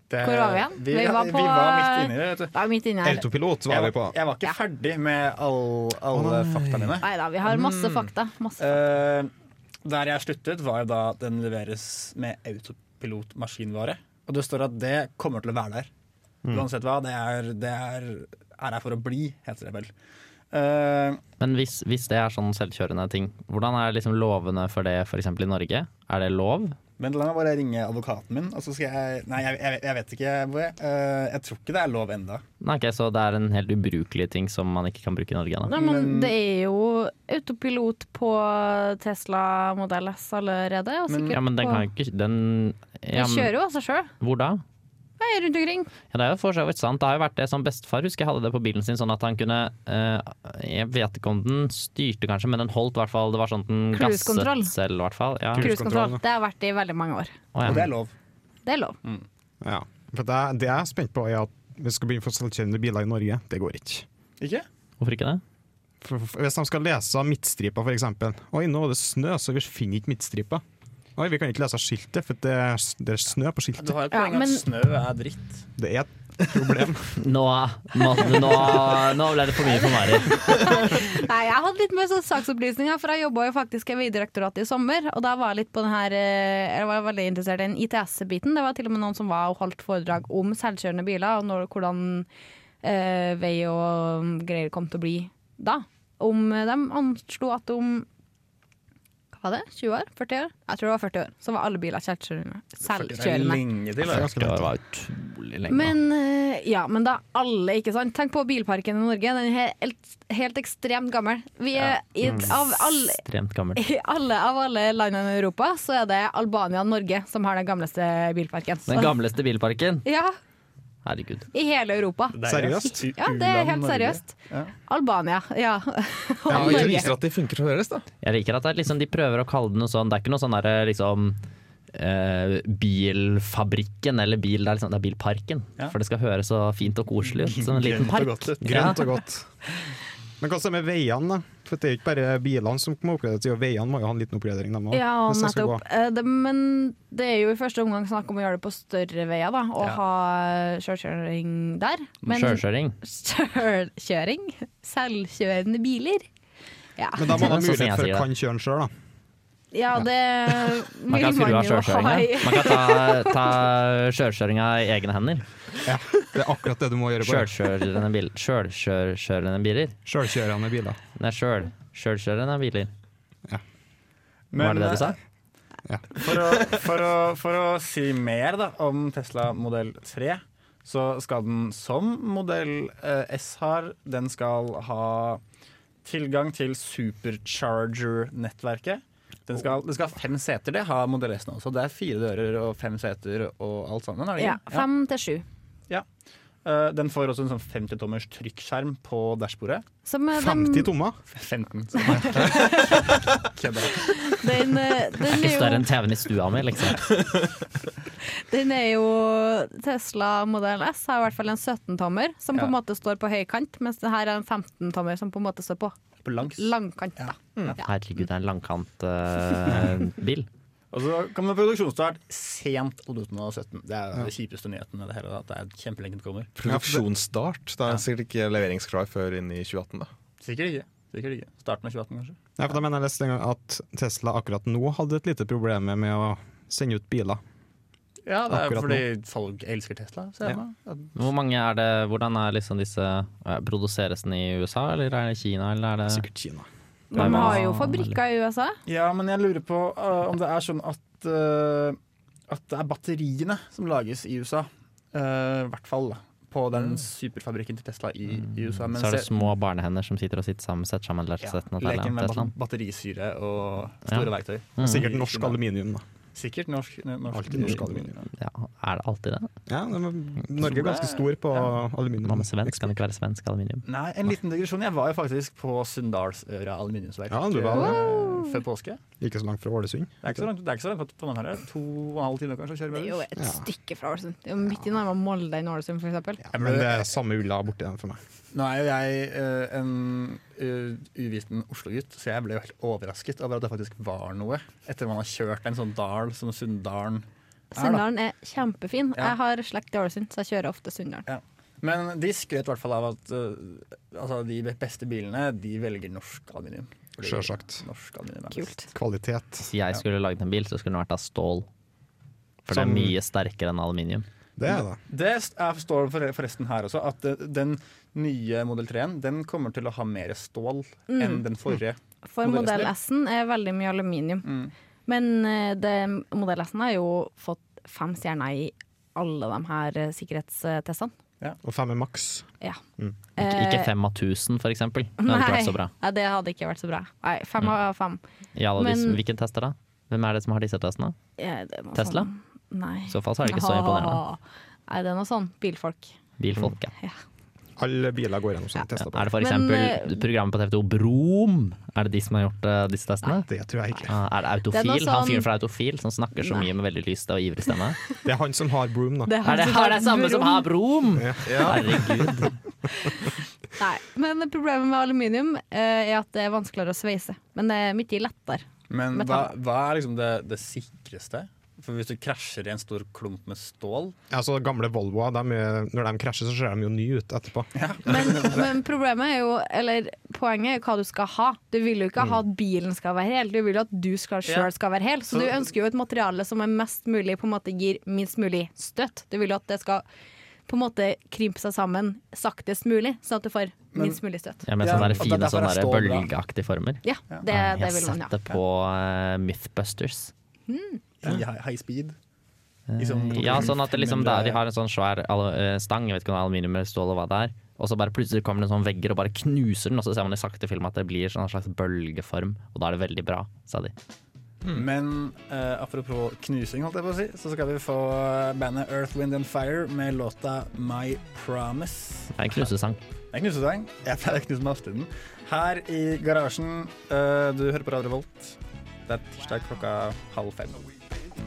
[SPEAKER 2] Det-
[SPEAKER 1] Hvor var vi igjen?
[SPEAKER 2] Vi,
[SPEAKER 1] Vi var
[SPEAKER 2] vi
[SPEAKER 1] på-
[SPEAKER 2] var midt inni det. vet du
[SPEAKER 1] da er vi midt inne her.
[SPEAKER 3] Autopilot
[SPEAKER 2] jeg,
[SPEAKER 3] var vi på.
[SPEAKER 2] var- jeg var ikke ferdig med all, alle faktaene mine.
[SPEAKER 1] Nei da, vi har
[SPEAKER 8] Mm.
[SPEAKER 1] masse fakta. Masse fakta.
[SPEAKER 2] Eh, der jeg sluttet, var jo da at den leveres med autopilotmaskinvare. Og det står at det kommer til å være der.
[SPEAKER 3] Mm.
[SPEAKER 2] Uansett hva. Det er, det er, er her for å bli, heter det vel. Eh,
[SPEAKER 8] Men hvis, hvis det er sånn selvkjørende ting, hvordan er liksom lovene for det f.eks. i Norge? Er det lov?
[SPEAKER 2] Men la meg bare ringe advokaten min, og så skal jeg Nei, jeg, jeg, jeg vet ikke, Boje. Eh, jeg tror ikke det er lov enda.
[SPEAKER 8] Nei, ok, så det er en helt ubrukelig ting som man ikke kan bruke i Norge ennå.
[SPEAKER 1] Nei, men det er jo autopilot på Tesla modell S allerede. Og sikkert
[SPEAKER 8] Ja, men den
[SPEAKER 1] på
[SPEAKER 8] kan jo ikke Den ja,
[SPEAKER 1] Den
[SPEAKER 8] men,
[SPEAKER 1] kjører jo av seg sjøl.
[SPEAKER 8] Hvor da?
[SPEAKER 1] Rundt omkring.
[SPEAKER 8] Ja, det er jo for så vidt sant. Det har jo vært det som bestefar husker jeg hadde det på bilen sin, sånn at han kunne eh, Jeg vet ikke om den styrte, kanskje, men den holdt i hvert fall. Det var sånn at den gasset
[SPEAKER 1] Cruisekontroll.
[SPEAKER 8] selv, i hvert fall. Ja.
[SPEAKER 3] Cruisekontroll,
[SPEAKER 1] Cruisekontroll. Det har vært det i veldig mange år.
[SPEAKER 8] Å, ja.
[SPEAKER 2] Og det er lov.
[SPEAKER 1] Det er lov.
[SPEAKER 3] Ja. For det, det jeg er spent på, er at hvis vi skal begynne å få selvkjørende biler i Norge. Det går ikke.
[SPEAKER 2] Ikke?
[SPEAKER 8] Hvorfor ikke det?
[SPEAKER 3] For, for, hvis de skal lese midtstripa, for eksempel. Oi, nå er det snø, så vi finner ikke midtstripa. Oi, vi kan ikke lese skiltet, for det er, det er snø på
[SPEAKER 2] Du
[SPEAKER 3] skiltet.
[SPEAKER 2] har jo
[SPEAKER 1] Ja,
[SPEAKER 2] poeng at
[SPEAKER 1] men-
[SPEAKER 2] snø er dritt.
[SPEAKER 3] Det er et problem.
[SPEAKER 8] Nå, nå, nå, nå ble det for mye for Mari.
[SPEAKER 1] Nei, jeg hadde litt mer sånn saksopplysninger, for jeg jobba jo faktisk i Vegdirektoratet i sommer. Og da var jeg litt på den her eh, Jeg var veldig interessert i den ITS-biten. Det var til og med noen som var og holdt foredrag om selvkjørende biler, og når, hvordan eh, vei og mm, greier kom til å bli da. Om eh, De anslo at om hva var det? 20 år? 40 år? Jeg tror det var 40 år. Så var alle biler selvkjørende.
[SPEAKER 2] Det er
[SPEAKER 1] selvkjørende.
[SPEAKER 2] lenge til. da.
[SPEAKER 8] Det var utrolig lenge.
[SPEAKER 1] Men, eh, ja, men da alle, ikke sant? Tenk på bilparken i Norge. Den er helt, helt ekstremt gammel. Vi er i, av alle
[SPEAKER 8] Ekstremt gammelt.
[SPEAKER 1] i alle av alle landene i Europa så er det Albania og Norge som har den gamleste bilparken. Så-
[SPEAKER 8] Den gamleste bilparken.
[SPEAKER 1] Ja,
[SPEAKER 8] Herregud.
[SPEAKER 1] I hele Europa.
[SPEAKER 2] Det er
[SPEAKER 3] Seriøst?
[SPEAKER 2] just-
[SPEAKER 1] Ja, det er
[SPEAKER 2] u-land
[SPEAKER 1] helt
[SPEAKER 2] Norge.
[SPEAKER 1] seriøst.
[SPEAKER 2] Ja.
[SPEAKER 1] Albania, ja. (laughs) Og
[SPEAKER 6] Ja, Det
[SPEAKER 1] Norge.
[SPEAKER 6] viser at de funker som deres, da.
[SPEAKER 8] Jeg liker at det er liksom, de prøver å kalle det noe sånn Det er ikke noe sånn derre liksom eh, bilfabrikken eller bil, det er, liksom, det er bilparken.
[SPEAKER 2] Ja.
[SPEAKER 8] For det skal høres så fint og koselig ut. Som en liten
[SPEAKER 2] Grønt og
[SPEAKER 8] park.
[SPEAKER 2] godt ut.
[SPEAKER 8] Ja.
[SPEAKER 3] Grønt og godt. Men hva så med veiene, da? For det er jo ikke bare bilene som må oppgraderes, jo, veiene må jo ha en liten oppgradering, de også,
[SPEAKER 1] Ja,
[SPEAKER 3] hvis de skal
[SPEAKER 1] nettopp. Eh, Det, men det er jo i første omgang snakk om å gjøre det på større veier, da. Og
[SPEAKER 2] Ja.
[SPEAKER 1] ha sjølkjøring der. Men
[SPEAKER 8] Sjøkjøring.
[SPEAKER 1] sjølkjøring? Selvkjørende biler? Ja.
[SPEAKER 3] gå. Men da må de ha
[SPEAKER 8] Sånn som jeg
[SPEAKER 3] mulighet for
[SPEAKER 8] sier
[SPEAKER 3] å
[SPEAKER 8] det.
[SPEAKER 3] kan kjøre den sjøl, da.
[SPEAKER 1] ja, det vil
[SPEAKER 8] Man kan skru av
[SPEAKER 1] man jo ha
[SPEAKER 8] sjøkjøringa.
[SPEAKER 1] i
[SPEAKER 8] Man kan ta, ta sjølkjøringa i egne hender.
[SPEAKER 3] Det er akkurat det du må gjøre. bare.
[SPEAKER 8] Sjølkjørende bil- sjølkjørende biler.
[SPEAKER 3] Sjølkjørende biler.
[SPEAKER 8] Nei, sjøl. Sjølkjørende biler.
[SPEAKER 2] Men, eh,
[SPEAKER 8] Var det det du sa?
[SPEAKER 2] For å, for, å, for å si mer da, om Tesla modell 3, så skal den som modell eh, S har, den skal ha tilgang til supercharger-nettverket. Den skal, den skal ha fem seter, det har Model S nå også. Det er fire dører og fem seter og alt sammen. er det
[SPEAKER 1] Ja,
[SPEAKER 2] ikke? Ja.
[SPEAKER 1] fem til sju.
[SPEAKER 2] Eh, Den får også en sånn 50-tommers trykkskjerm på dashbordet.
[SPEAKER 1] Som, eh, den-
[SPEAKER 3] 50 tommer?
[SPEAKER 2] 15, så nei. (laughs) Kødda.
[SPEAKER 1] Den, eh, den,
[SPEAKER 8] Ikke
[SPEAKER 1] er
[SPEAKER 8] større
[SPEAKER 1] jo,
[SPEAKER 8] enn TV-en i stua mi, liksom.
[SPEAKER 1] den er jo Tesla Model S har i hvert fall en 17-tommer som på en måte står på høykant, mens det her er en 15-tommer som på en måte står på
[SPEAKER 2] På langs.
[SPEAKER 1] langkant. Da. Mm.
[SPEAKER 8] Herregud, det er en eh, langkantbil.
[SPEAKER 2] Og så kommer produksjonsstart sent 2017. Det er den kjipeste nyheten med det hele. At det er kjempelenge til kommer.
[SPEAKER 6] (laughs) Produksjonsstart. Det er sikkert ikke leveringsklar før inn i 2018. da.
[SPEAKER 2] Sikkert ikke. Sikkert ikke. Starten av 2018, kanskje.
[SPEAKER 3] Nei, for da mener jeg leste en gang at Tesla akkurat nå hadde et lite problem med å sende ut biler.
[SPEAKER 2] Ja, det er
[SPEAKER 3] Akkurat
[SPEAKER 2] fordi folk elsker Tesla. ser jeg nå.
[SPEAKER 8] Hvor mange er det, hvordan er liksom disse eh, Produseres den i USA, eller er det Kina, eller er det
[SPEAKER 3] Sikkert Kina.
[SPEAKER 1] De har jo fabrikker i USA.
[SPEAKER 2] Ja, men jeg lurer på øh, om det er sånn at øh, At det er batteriene som lages i USA. Øh, I hvert fall da, på den superfabrikken til Tesla i, i USA. Men
[SPEAKER 8] Så er det
[SPEAKER 2] se-
[SPEAKER 8] små barnehender som sitter og sitter sammen, setter sammen
[SPEAKER 2] ja,
[SPEAKER 8] lettsetten og teller
[SPEAKER 2] leken med
[SPEAKER 8] et eller
[SPEAKER 2] bat
[SPEAKER 8] annet. Mm.
[SPEAKER 2] batterisyre og store verktøy.
[SPEAKER 3] Sikkert norsk aluminium, da.
[SPEAKER 2] Sikkert norsk, eh, norsk,
[SPEAKER 3] Alltid norsk aluminium.
[SPEAKER 8] Ja, er det alltid det?
[SPEAKER 3] Ja, men Norge er ganske stor på aluminium.
[SPEAKER 8] Man er svensk, kan det ikke være svensk aluminium?
[SPEAKER 2] Nei, en liten digresjon. Jeg var jo faktisk på Sunndalsøra aluminiumsverk
[SPEAKER 3] Ja, du var det.
[SPEAKER 2] eh, før påske.
[SPEAKER 3] Ikke så langt fra Ålesund.
[SPEAKER 2] Det er ikke så langt, det er ikke så langt fra Trondheim her. To og en halv time kanskje å kjøre
[SPEAKER 1] Det er
[SPEAKER 2] med
[SPEAKER 1] jo
[SPEAKER 2] buss.
[SPEAKER 1] et stykke fra Ålesund. Det er jo Midt i nærmere Molde enn Ålesund, for eksempel.
[SPEAKER 3] Ja, men det er samme ulla borti den for meg.
[SPEAKER 2] Nå er jo jeg eh, en eh, uviten Oslo-gutt, så jeg ble jo helt overrasket over at det faktisk var noe. Etter man har kjørt en sånn dal som Sunndalen.
[SPEAKER 1] Sunndalen er kjempefin.
[SPEAKER 2] Ja.
[SPEAKER 1] Jeg har slekt i Ålesund, så jeg kjører ofte Sunndalen.
[SPEAKER 2] Men de skrøt i hvert fall av at eh, altså, de beste bilene de velger norsk aluminium. Fordi
[SPEAKER 3] Sjølsagt.
[SPEAKER 2] Norsk aluminium er best.
[SPEAKER 1] Kult.
[SPEAKER 3] Kvalitet.
[SPEAKER 8] Hvis jeg skulle laget en bil, så skulle den vært av stål. For
[SPEAKER 3] Som-
[SPEAKER 8] det er mye sterkere enn aluminium.
[SPEAKER 3] Det er det.
[SPEAKER 2] Det er- står for- forresten her også, at eh, den nye Modell 3-en den kommer til å ha mer stål enn den forrige.
[SPEAKER 1] For
[SPEAKER 2] Modell S,
[SPEAKER 1] modell
[SPEAKER 2] ja.
[SPEAKER 1] S-en er veldig mye aluminium.
[SPEAKER 8] Mm.
[SPEAKER 1] Men eh, det, modell S-en har jo fått fem stjerner i alle de her eh, sikkerhetstestene.
[SPEAKER 3] Og fem er maks.
[SPEAKER 1] Ja.
[SPEAKER 8] Mm. Ikke,
[SPEAKER 1] Eh,
[SPEAKER 8] ikke fem av tusen, for eksempel. Det hadde ikke
[SPEAKER 1] Nei,
[SPEAKER 8] vært så bra. Mm.
[SPEAKER 1] Nei, det hadde ikke vært så bra. Nei, fem av fem.
[SPEAKER 8] I alle disse,
[SPEAKER 1] Men-
[SPEAKER 8] hvilken test er det? Hvem er det som har disse testene?
[SPEAKER 1] Ja, det er noe
[SPEAKER 8] Tesla?
[SPEAKER 1] Sånn. Nei.
[SPEAKER 8] I så fall så er det ikke så imponerende.
[SPEAKER 1] (laughs) Nei, det er noe sånn bilfolk.
[SPEAKER 8] Bilfolk, ja.
[SPEAKER 3] Alle biler går gjennom sånne tester. på.
[SPEAKER 8] Er det for
[SPEAKER 1] Men,
[SPEAKER 8] eksempel
[SPEAKER 1] eh,
[SPEAKER 8] programmet på TV 2 Brom? Er det de som har gjort eh, disse testene?
[SPEAKER 3] Det tror jeg ikke.
[SPEAKER 8] Ah, er det
[SPEAKER 1] Det er
[SPEAKER 8] Autofil?
[SPEAKER 1] noe
[SPEAKER 8] Han
[SPEAKER 1] sånn-
[SPEAKER 8] fyren fra Autofil som snakker så
[SPEAKER 1] Nei.
[SPEAKER 8] mye med veldig lyst og ivrig
[SPEAKER 1] (laughs)
[SPEAKER 8] stemme?
[SPEAKER 3] Det er han som har broom, da.
[SPEAKER 8] Er det,
[SPEAKER 1] altså
[SPEAKER 8] har det
[SPEAKER 1] bare
[SPEAKER 8] samme som
[SPEAKER 1] brom.
[SPEAKER 8] har Brom? Herregud.
[SPEAKER 1] Nei, men problemet med aluminium eh, er at det er vanskeligere å sveise. Men det er mye lettere.
[SPEAKER 2] Men hva,
[SPEAKER 1] Metall.
[SPEAKER 2] hva er liksom det, det sikreste? For hvis du krasjer i en stor klump med stål
[SPEAKER 3] Altså, gamle Volvoer, de er, når de krasjer, så ser de jo nye ut etterpå.
[SPEAKER 1] Men, men problemet er jo, eller poenget er jo hva du skal ha. Du vil jo ikke ha at bilen skal være hel, du vil jo at du skal
[SPEAKER 2] Ja.
[SPEAKER 1] sjøl skal være hel. Så
[SPEAKER 2] Så-
[SPEAKER 1] du ønsker jo et materiale som er mest mulig på en måte gir minst mulig støtt. Du vil jo at det skal på en måte krympe seg sammen saktest mulig, sånn at du får
[SPEAKER 2] Men-
[SPEAKER 1] minst mulig støtt.
[SPEAKER 8] Ja, med
[SPEAKER 2] Ja,
[SPEAKER 8] sånne
[SPEAKER 2] at
[SPEAKER 8] der
[SPEAKER 2] det
[SPEAKER 8] fine
[SPEAKER 2] derfor er
[SPEAKER 8] sånne der
[SPEAKER 2] stål bra.
[SPEAKER 8] bølgeaktige former.
[SPEAKER 1] Ja, det,
[SPEAKER 8] Jeg
[SPEAKER 1] det
[SPEAKER 8] har
[SPEAKER 1] vil
[SPEAKER 8] sett
[SPEAKER 1] man ha.
[SPEAKER 8] det på eh, Mythbusters.
[SPEAKER 2] i high, high speed i sånn
[SPEAKER 8] Ja, sånn at det liksom der,
[SPEAKER 2] 500
[SPEAKER 8] De har en sånn svær alu- eh, stang, jeg vet ikke om det er aluminium eller stål, og hva det er. Og så bare plutselig kommer det en sånn vegger og bare knuser den, og så ser man i sakte film at det blir sånn en slags bølgeform, og da er det veldig bra, sa de.
[SPEAKER 2] Men eh, apropos knusing, holdt jeg på å si, så skal vi få eh, bandet Earth, Wind and Fire med låta My Promise.
[SPEAKER 8] Det er en knusesang.
[SPEAKER 2] Det er en knusesang. Jeg pleier å knuse meg ofte i den. Her i garasjen, eh, du hører på Radio Volt. Det er tirsdag klokka halv fem.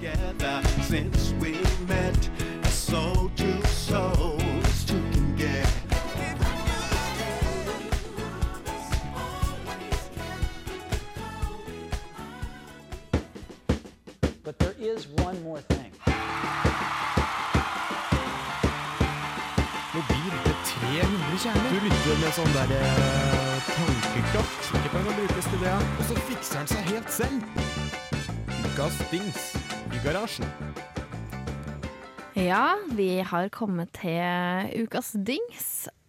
[SPEAKER 10] together since we met. So two souls two can get.
[SPEAKER 7] But there is one more thing.
[SPEAKER 1] Ja, vi har kommet til ukas dings.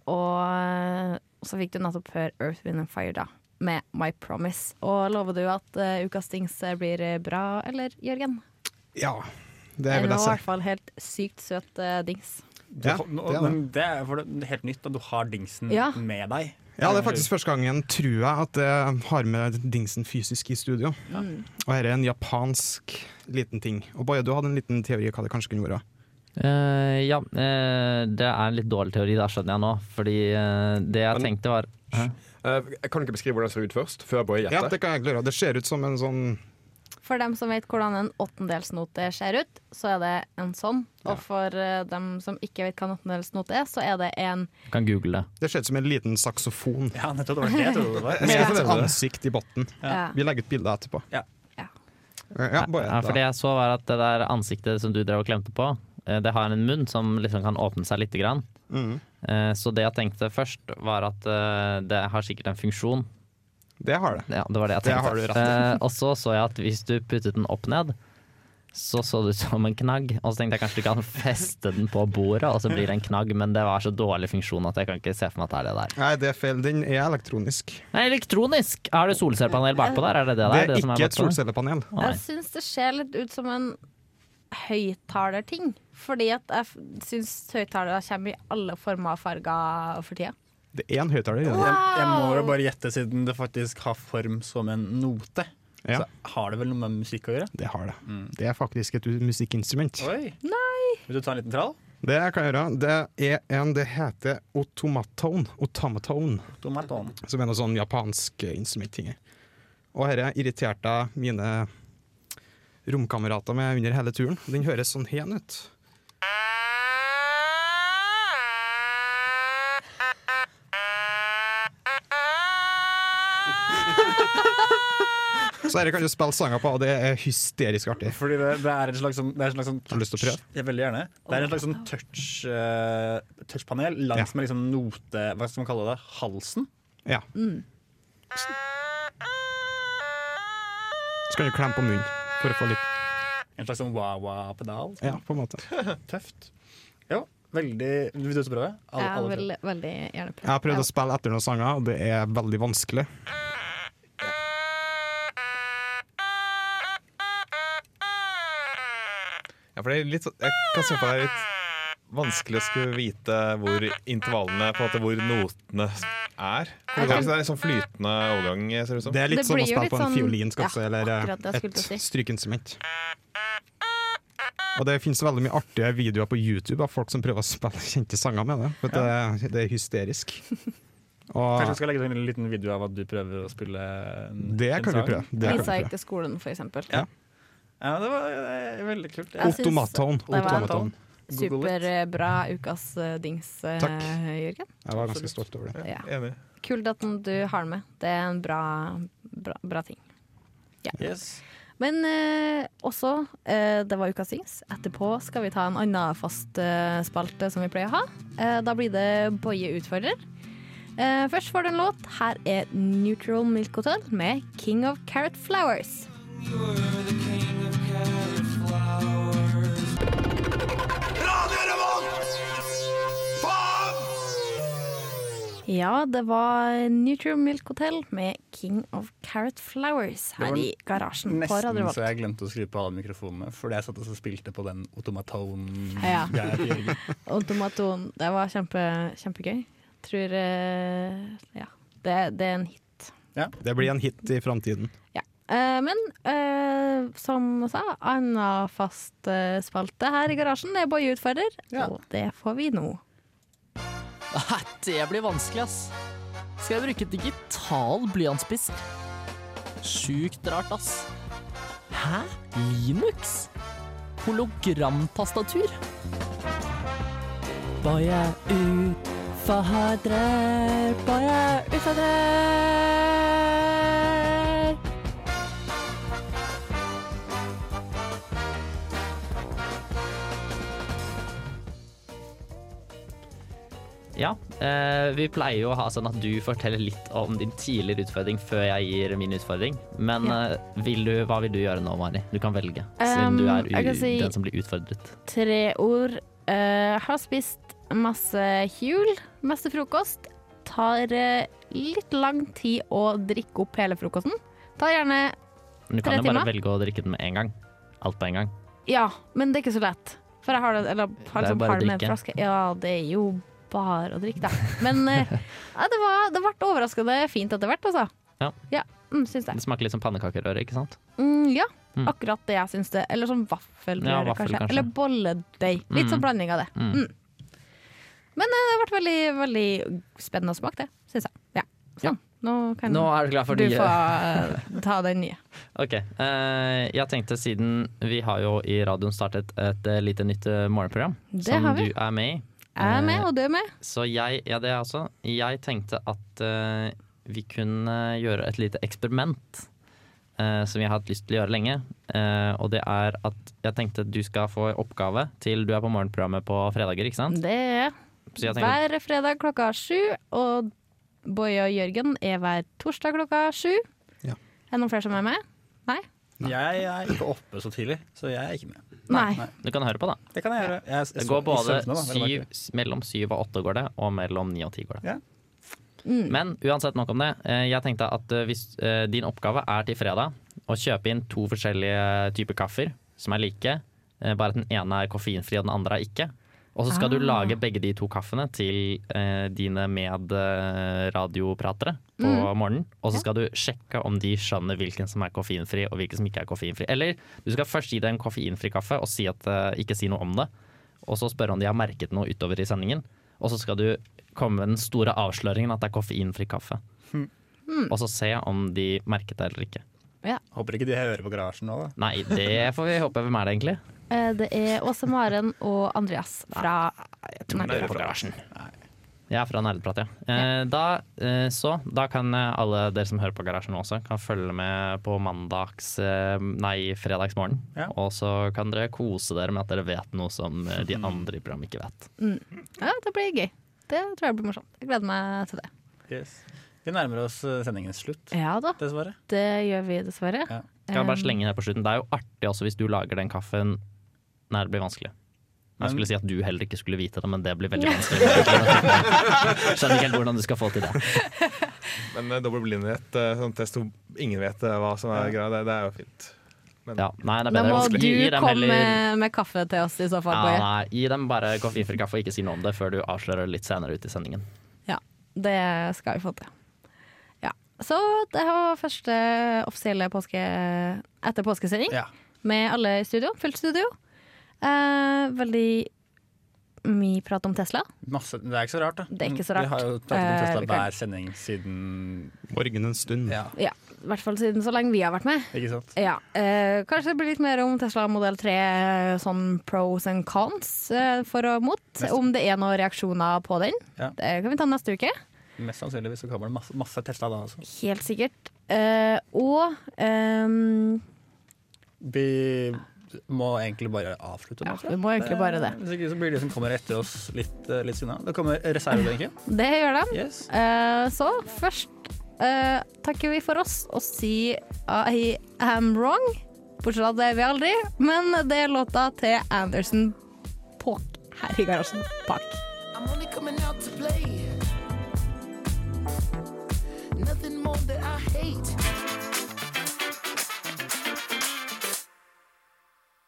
[SPEAKER 1] Og så fikk du nettopp høre Earth, Wind and Fire da, med My Promise. Og lover du at eh, ukas dings blir eh, bra, eller Jørgen?
[SPEAKER 3] Ja, det
[SPEAKER 1] Det
[SPEAKER 3] vil
[SPEAKER 1] var i
[SPEAKER 3] jeg si.
[SPEAKER 1] hvert fall helt sykt søt eh, dings.
[SPEAKER 2] Du,
[SPEAKER 3] Ja,
[SPEAKER 2] ho- nå-
[SPEAKER 3] det er det.
[SPEAKER 2] men det er for det helt nytt at du har dingsen
[SPEAKER 1] Ja.
[SPEAKER 2] med deg.
[SPEAKER 3] Ja, det er faktisk første gangen, tror jeg, at jeg har med dingsen fysisk i studio. Og her er en japansk liten ting. Og Boje, du hadde en liten teori hva det kanskje kunne være.
[SPEAKER 8] Eh, ja, eh, det er en litt dårlig teori, det skjønner jeg nå. Fordi eh, det jeg
[SPEAKER 5] Men-
[SPEAKER 8] tenkte var
[SPEAKER 5] Eh, jeg kan du ikke beskrive hvordan det ser ut først? Før Boje
[SPEAKER 3] Ja,
[SPEAKER 5] gjetter?
[SPEAKER 3] det kan jeg egentlig gjøre. Det ser ut som en sånn
[SPEAKER 1] For dem som vet hvordan en åttendelsnote ser ut, så er det en sånn. Og for eh, dem som ikke vet hva en åttendelsnote er, så er det en
[SPEAKER 8] Kan google det.
[SPEAKER 3] Det ser ut som en liten saksofon.
[SPEAKER 2] Ja, nettopp. Det var det jeg trodde det var.
[SPEAKER 3] Med et ansikt i bunnen.
[SPEAKER 1] Ja.
[SPEAKER 3] Vi legger ut bilde etterpå.
[SPEAKER 2] Ja.
[SPEAKER 1] Ja.
[SPEAKER 3] Ja, Boje.
[SPEAKER 8] Ja, for
[SPEAKER 3] da.
[SPEAKER 8] det jeg så var at det der ansiktet som du drev og klemte på, eh, det har en munn som liksom kan åpne seg lite grann.
[SPEAKER 3] Mhm.
[SPEAKER 8] Eh, Så det jeg tenkte først var at eh, det har sikkert en funksjon.
[SPEAKER 3] Det har det.
[SPEAKER 8] Ja, det var det jeg
[SPEAKER 3] Det
[SPEAKER 8] tenkte.
[SPEAKER 3] har du rett
[SPEAKER 8] Eh, Og så så jeg at hvis du puttet den opp ned, så så det ut som en knagg. Og så tenkte jeg kanskje du kan (laughs) feste den på bordet, og så blir det en knagg. Men det var så dårlig funksjon at jeg kan ikke se for meg at det er det der.
[SPEAKER 3] Nei, det er feil. Den er elektronisk.
[SPEAKER 8] Nei, elektronisk! Har du solcellepanel bakpå der? Er det det
[SPEAKER 3] Det
[SPEAKER 8] der?
[SPEAKER 3] er
[SPEAKER 8] som
[SPEAKER 3] ikke et
[SPEAKER 8] bakpå der?
[SPEAKER 3] solcellepanel.
[SPEAKER 8] Å, nei.
[SPEAKER 1] Jeg syns det ser litt ut som en høyttalerting. Fordi at jeg syns høyttalere kommer i alle former og farger for tida.
[SPEAKER 3] Det er en høyttaler i den.
[SPEAKER 2] Jeg, jeg må jo bare gjette, siden det faktisk har form som en note.
[SPEAKER 3] Ja,
[SPEAKER 2] Så har det vel noe med musikk å gjøre?
[SPEAKER 3] det har det. Det er faktisk et musikkinstrument.
[SPEAKER 2] Oi. Nei. Vil du ta en liten trall?
[SPEAKER 3] Det jeg kan gjøre, det er en Det heter automatone, automatone
[SPEAKER 2] Tomaton.
[SPEAKER 3] som er noe sånn japansk instrumentting. Og dette irriterte jeg mine romkamerater med under hele turen. Den høres sånn hen ut. Så dette kan du spille sanger på, og det er hysterisk artig.
[SPEAKER 2] Fordi det, det er en slags sånn det er en slags sånn
[SPEAKER 3] Har du lyst til å prøve?
[SPEAKER 2] Ja, veldig gjerne. Det er en slags sånn touch, eh, touchpanel langs med liksom note... Hva skal man kalle det? Halsen?
[SPEAKER 3] Ja. Så kan du klemme på munnen for å få litt
[SPEAKER 2] En slags sånn wah-wah-pedal? sånn
[SPEAKER 3] Ja, på en måte.
[SPEAKER 2] Tøft. Jo, veldig Vil du også prøve? Alle-
[SPEAKER 1] Jeg
[SPEAKER 2] alle prøver.
[SPEAKER 1] vil veldig gjerne prøve.
[SPEAKER 3] Jeg har prøvd å spille etter noen sanger, og det er veldig vanskelig.
[SPEAKER 6] Ja, for det er litt, sånn- jeg kan se for meg det er litt vanskelig å skulle vite hvor intervallene på en måte, hvor notene er. For Det er en sånn flytende overgang, ser det ut som.
[SPEAKER 3] Det er litt
[SPEAKER 1] Det
[SPEAKER 3] som å
[SPEAKER 1] blir jo
[SPEAKER 3] spille
[SPEAKER 1] litt
[SPEAKER 3] på en
[SPEAKER 1] sånn-
[SPEAKER 3] fiolin, skal du si,
[SPEAKER 1] ja,
[SPEAKER 3] eller eh,
[SPEAKER 1] akkurat det jeg skulle
[SPEAKER 3] et
[SPEAKER 1] til å
[SPEAKER 3] strykeinstrument. Og det finnes veldig mye artige videoer på YouTube av folk som prøver å spille kjente sanger med det. For det, det er
[SPEAKER 6] (laughs)
[SPEAKER 3] hysterisk.
[SPEAKER 2] Kanskje vi
[SPEAKER 3] Og
[SPEAKER 2] skal legge ut en liten video av at du prøver å spille en-
[SPEAKER 3] det
[SPEAKER 2] en
[SPEAKER 3] kan du
[SPEAKER 2] sang?
[SPEAKER 3] prøve. Det kan du
[SPEAKER 1] Lisa gikk
[SPEAKER 3] prøve.
[SPEAKER 1] til skolen, for eksempel.
[SPEAKER 2] Ja. Ja, det var eh, veldig kult.
[SPEAKER 1] Jeg synes
[SPEAKER 3] Automaton.
[SPEAKER 1] var-
[SPEAKER 3] Automaton.
[SPEAKER 2] Google it.
[SPEAKER 1] Superbra ukas eh, dings, eh,
[SPEAKER 3] Takk.
[SPEAKER 1] Jørgen.
[SPEAKER 3] Jeg var ganske stolt over det.
[SPEAKER 1] Ja.
[SPEAKER 6] Enig.
[SPEAKER 1] Kult at den du har den med. Det er en bra, bra, bra ting.
[SPEAKER 2] Yes.
[SPEAKER 1] Men eh, også, eh, det var ukas dings. Etterpå skal vi ta en annen fast eh, spalte som vi pleier å ha. Eh, da blir det Boje utfordrer. Eh, først får du en låt. Her er Neutral Milk Hotel med King of Carrot Flowers. Ja, det var Neutral Milk Hotel med King of Carrot Flowers
[SPEAKER 2] Det
[SPEAKER 1] her
[SPEAKER 2] var
[SPEAKER 1] i garasjen på
[SPEAKER 2] Nesten
[SPEAKER 1] Radio
[SPEAKER 2] så
[SPEAKER 1] Revolt.
[SPEAKER 2] jeg glemte å skru på alle mikrofonene, fordi jeg satt og spilte på den automaton
[SPEAKER 1] Ja.
[SPEAKER 2] greia til
[SPEAKER 1] (laughs)
[SPEAKER 2] Jørgen.
[SPEAKER 1] Og tomaton. Det var kjempe, kjempegøy. Tror eh, Ja. Det, det er en hit.
[SPEAKER 3] Det blir en hit i framtiden.
[SPEAKER 1] Eh, men eh, som sa, anna fast eh, spalte her i garasjen det er Boje utfordrer,
[SPEAKER 2] Ja.
[SPEAKER 1] og det får vi nå.
[SPEAKER 11] Det blir vanskelig, ass. Skal jeg bruke digital blyantspisser? Sjukt rart, ass. Hæ? Linux? Hologramtastatur? Bare utfordrer, bare utfordrer.
[SPEAKER 8] Ja, eh, vi pleier jo å ha sånn at du forteller litt om din tidligere utfordring før jeg gir min utfordring. Men
[SPEAKER 1] Ja.
[SPEAKER 8] eh, vil du, hva vil du gjøre nå, Mari? Du kan velge, siden
[SPEAKER 1] Um,
[SPEAKER 8] du er
[SPEAKER 1] jeg
[SPEAKER 8] u
[SPEAKER 1] kan si-
[SPEAKER 8] den som blir utfordret.
[SPEAKER 1] Tre ord. Eh, har spist masse hjul, masse frokost. Tar eh, litt lang tid å drikke opp hele frokosten. Tar gjerne
[SPEAKER 8] Men du
[SPEAKER 1] Tre
[SPEAKER 8] kan jo bare
[SPEAKER 1] timer?
[SPEAKER 8] velge å drikke den med en gang. Alt på en gang.
[SPEAKER 1] Ja, men det er ikke så lett. For jeg har det eller, har
[SPEAKER 8] Det er
[SPEAKER 1] liksom
[SPEAKER 8] bare
[SPEAKER 1] har det med
[SPEAKER 8] drikke.
[SPEAKER 1] en flaske. Ja, det er jo bare å drikke, da. Men eh,
[SPEAKER 8] (laughs)
[SPEAKER 1] ja, det, var, det ble overraskende fint etter hvert, altså.
[SPEAKER 8] Ja.
[SPEAKER 1] Ja, mm, syns
[SPEAKER 8] Det
[SPEAKER 1] jeg.
[SPEAKER 8] smaker litt som pannekakerøre, ikke sant?
[SPEAKER 1] Mm, ja,
[SPEAKER 8] Mm.
[SPEAKER 1] akkurat det jeg syns det. Eller sånn vaffelrøre,
[SPEAKER 8] Ja, vaffel,
[SPEAKER 1] kanskje.
[SPEAKER 8] kanskje.
[SPEAKER 1] Eller bolledeig. Litt
[SPEAKER 8] Mm.
[SPEAKER 1] sånn blanding av det.
[SPEAKER 8] Mm.
[SPEAKER 1] Mm. Men eh, det ble veldig, veldig spennende å smake, det syns jeg. Ja. Sånn. Nå kan
[SPEAKER 8] Nå er du klar for
[SPEAKER 1] du
[SPEAKER 8] nye.
[SPEAKER 1] få eh, ta den nye.
[SPEAKER 8] (laughs) Ok, eh, jeg tenkte siden vi har jo i radioen startet et eh, lite nytt eh, morgenprogram
[SPEAKER 1] Det
[SPEAKER 8] som
[SPEAKER 1] har vi.
[SPEAKER 8] du er med i.
[SPEAKER 1] Jeg er med,
[SPEAKER 8] Eh,
[SPEAKER 1] og du er med.
[SPEAKER 8] Så jeg, ja det er jeg også, jeg tenkte at eh, vi kunne gjøre et lite eksperiment eh, som jeg har hatt lyst til å gjøre lenge. Eh, og det er at jeg tenkte at du skal få en oppgave til du er på morgenprogrammet på fredager, ikke sant?
[SPEAKER 1] Det er
[SPEAKER 8] Så jeg tenker,
[SPEAKER 1] hver fredag klokka sju, og Boy og Jørgen er hver torsdag klokka sju.
[SPEAKER 3] Ja.
[SPEAKER 1] Er det noen flere som er med? Nei?
[SPEAKER 2] Jeg er ikke oppe så tidlig, så jeg er ikke med.
[SPEAKER 1] Nei.
[SPEAKER 8] du kan høre på da.
[SPEAKER 2] Det kan jeg gjøre. Jeg, jeg
[SPEAKER 8] Det
[SPEAKER 2] så-
[SPEAKER 8] går
[SPEAKER 2] i
[SPEAKER 8] både
[SPEAKER 2] søvne, da, vel å
[SPEAKER 8] syv,
[SPEAKER 2] merke.
[SPEAKER 8] mellom syv og åtte går det, og mellom ni og ti går det.
[SPEAKER 2] Ja.
[SPEAKER 1] Mm.
[SPEAKER 8] Men uansett nok om det. Eh, Jeg tenkte at eh, hvis eh, din oppgave er til fredag å kjøpe inn to forskjellige typer kaffer som er like, eh, bare at den ene er koffeinfri og den andre er ikke. Og så skal du
[SPEAKER 1] Ah.
[SPEAKER 8] lage begge de to kaffene til eh, dine medradiopratere på
[SPEAKER 1] Mm.
[SPEAKER 8] morgenen. Og så skal du sjekke om de skjønner hvilken som er koffeinfri og hvilken som ikke er koffeinfri. Eller du skal først gi dem en koffeinfri kaffe og si at, eh, ikke si noe om det. Og så spørre om de har merket noe utover i sendingen. Og så skal du komme med den store avsløringen at det er koffeinfri kaffe. Og så se om de merket det eller ikke.
[SPEAKER 2] Håper ikke de hører på garasjen nå, da.
[SPEAKER 8] Nei, det får vi håpe hvem er det egentlig.
[SPEAKER 1] Eh, Det er Åse Maren og Andreas fra Nei.
[SPEAKER 8] Jeg er fra Nerdeprat, ja. Eh, da, eh, så da kan eh, alle dere som hører på Garasjen nå også, kan følge med på mandags, eh, nei, fredagsmorgen.
[SPEAKER 2] Ja.
[SPEAKER 8] Og så kan dere kose dere med at dere vet noe som eh, de andre i programmet ikke vet.
[SPEAKER 1] Ja, det blir gøy. Det tror jeg blir morsomt. Jeg gleder meg til det.
[SPEAKER 2] Yes. Vi nærmer oss eh, sendingens slutt,
[SPEAKER 1] Ja da,
[SPEAKER 2] dessverre.
[SPEAKER 1] det gjør vi dessverre.
[SPEAKER 2] Ja.
[SPEAKER 8] Skal jeg bare
[SPEAKER 1] Um,
[SPEAKER 8] slenge inn her på slutten. Det er jo artig også hvis du lager den kaffen Nei, det blir vanskelig. Jeg skulle si at du heller ikke skulle vite det, men det blir veldig vanskelig. Skjønner ikke helt hvordan du skal få til det.
[SPEAKER 6] Men eh, dobbel blindhet, eh, sånn test hvor ingen vet eh, hva som er greia, det, det er jo fint.
[SPEAKER 8] Ja, nei,
[SPEAKER 1] Eh,
[SPEAKER 8] det er
[SPEAKER 1] Da
[SPEAKER 8] bedre.
[SPEAKER 1] må
[SPEAKER 8] vanskelig.
[SPEAKER 1] du
[SPEAKER 8] Gi dem
[SPEAKER 1] komme
[SPEAKER 8] heller-
[SPEAKER 1] med kaffe til oss i så fall,
[SPEAKER 8] Ja,
[SPEAKER 1] Boje.
[SPEAKER 8] nei, gi dem bare koffeinfri kaffe og ikke si noe om det før du avslører litt senere ut i sendingen.
[SPEAKER 1] Ja, det skal vi få til. Ja. Så det var første offisielle påske etter påskesending
[SPEAKER 2] Ja.
[SPEAKER 1] med alle i studio. Fullt studio. Eh, veldig mye prat om Tesla.
[SPEAKER 2] Masse, det er ikke så rart, da.
[SPEAKER 1] Det er ikke så
[SPEAKER 2] Vi har
[SPEAKER 1] rart.
[SPEAKER 2] jo pratet om
[SPEAKER 1] Eh,
[SPEAKER 2] Tesla
[SPEAKER 1] vi kan-
[SPEAKER 2] hver sending siden
[SPEAKER 3] Morgen en stund.
[SPEAKER 2] Ja,
[SPEAKER 1] Ja, I hvert fall siden så lenge vi har vært med.
[SPEAKER 2] ikke sant?
[SPEAKER 1] Ja, eh, Kanskje det blir litt mer om Tesla modell 3, sånn pros and cons eh, for og mot.
[SPEAKER 2] Neste.
[SPEAKER 1] Om det er noen reaksjoner på den.
[SPEAKER 2] Ja.
[SPEAKER 1] Det kan vi ta neste uke.
[SPEAKER 2] Mest sannsynligvis så kommer det masse, masse Tesla da altså. også.
[SPEAKER 1] Helt sikkert. Eh, og ehm,
[SPEAKER 2] Vi må egentlig bare avslutte nå.
[SPEAKER 1] ja,
[SPEAKER 2] tror jeg.
[SPEAKER 1] vi må egentlig bare det.
[SPEAKER 2] Hvis ikke så blir de som kommer etter oss litt, eh, litt unna. Det kommer
[SPEAKER 1] (laughs)
[SPEAKER 2] reservebenken.
[SPEAKER 1] Det gjør de.
[SPEAKER 2] Yes.
[SPEAKER 1] Eh, så først eh, takker vi for oss og sier I am wrong. Bortsett fra at det er vi aldri, men det er låta til Anderson Paak her i garasjen. Paak.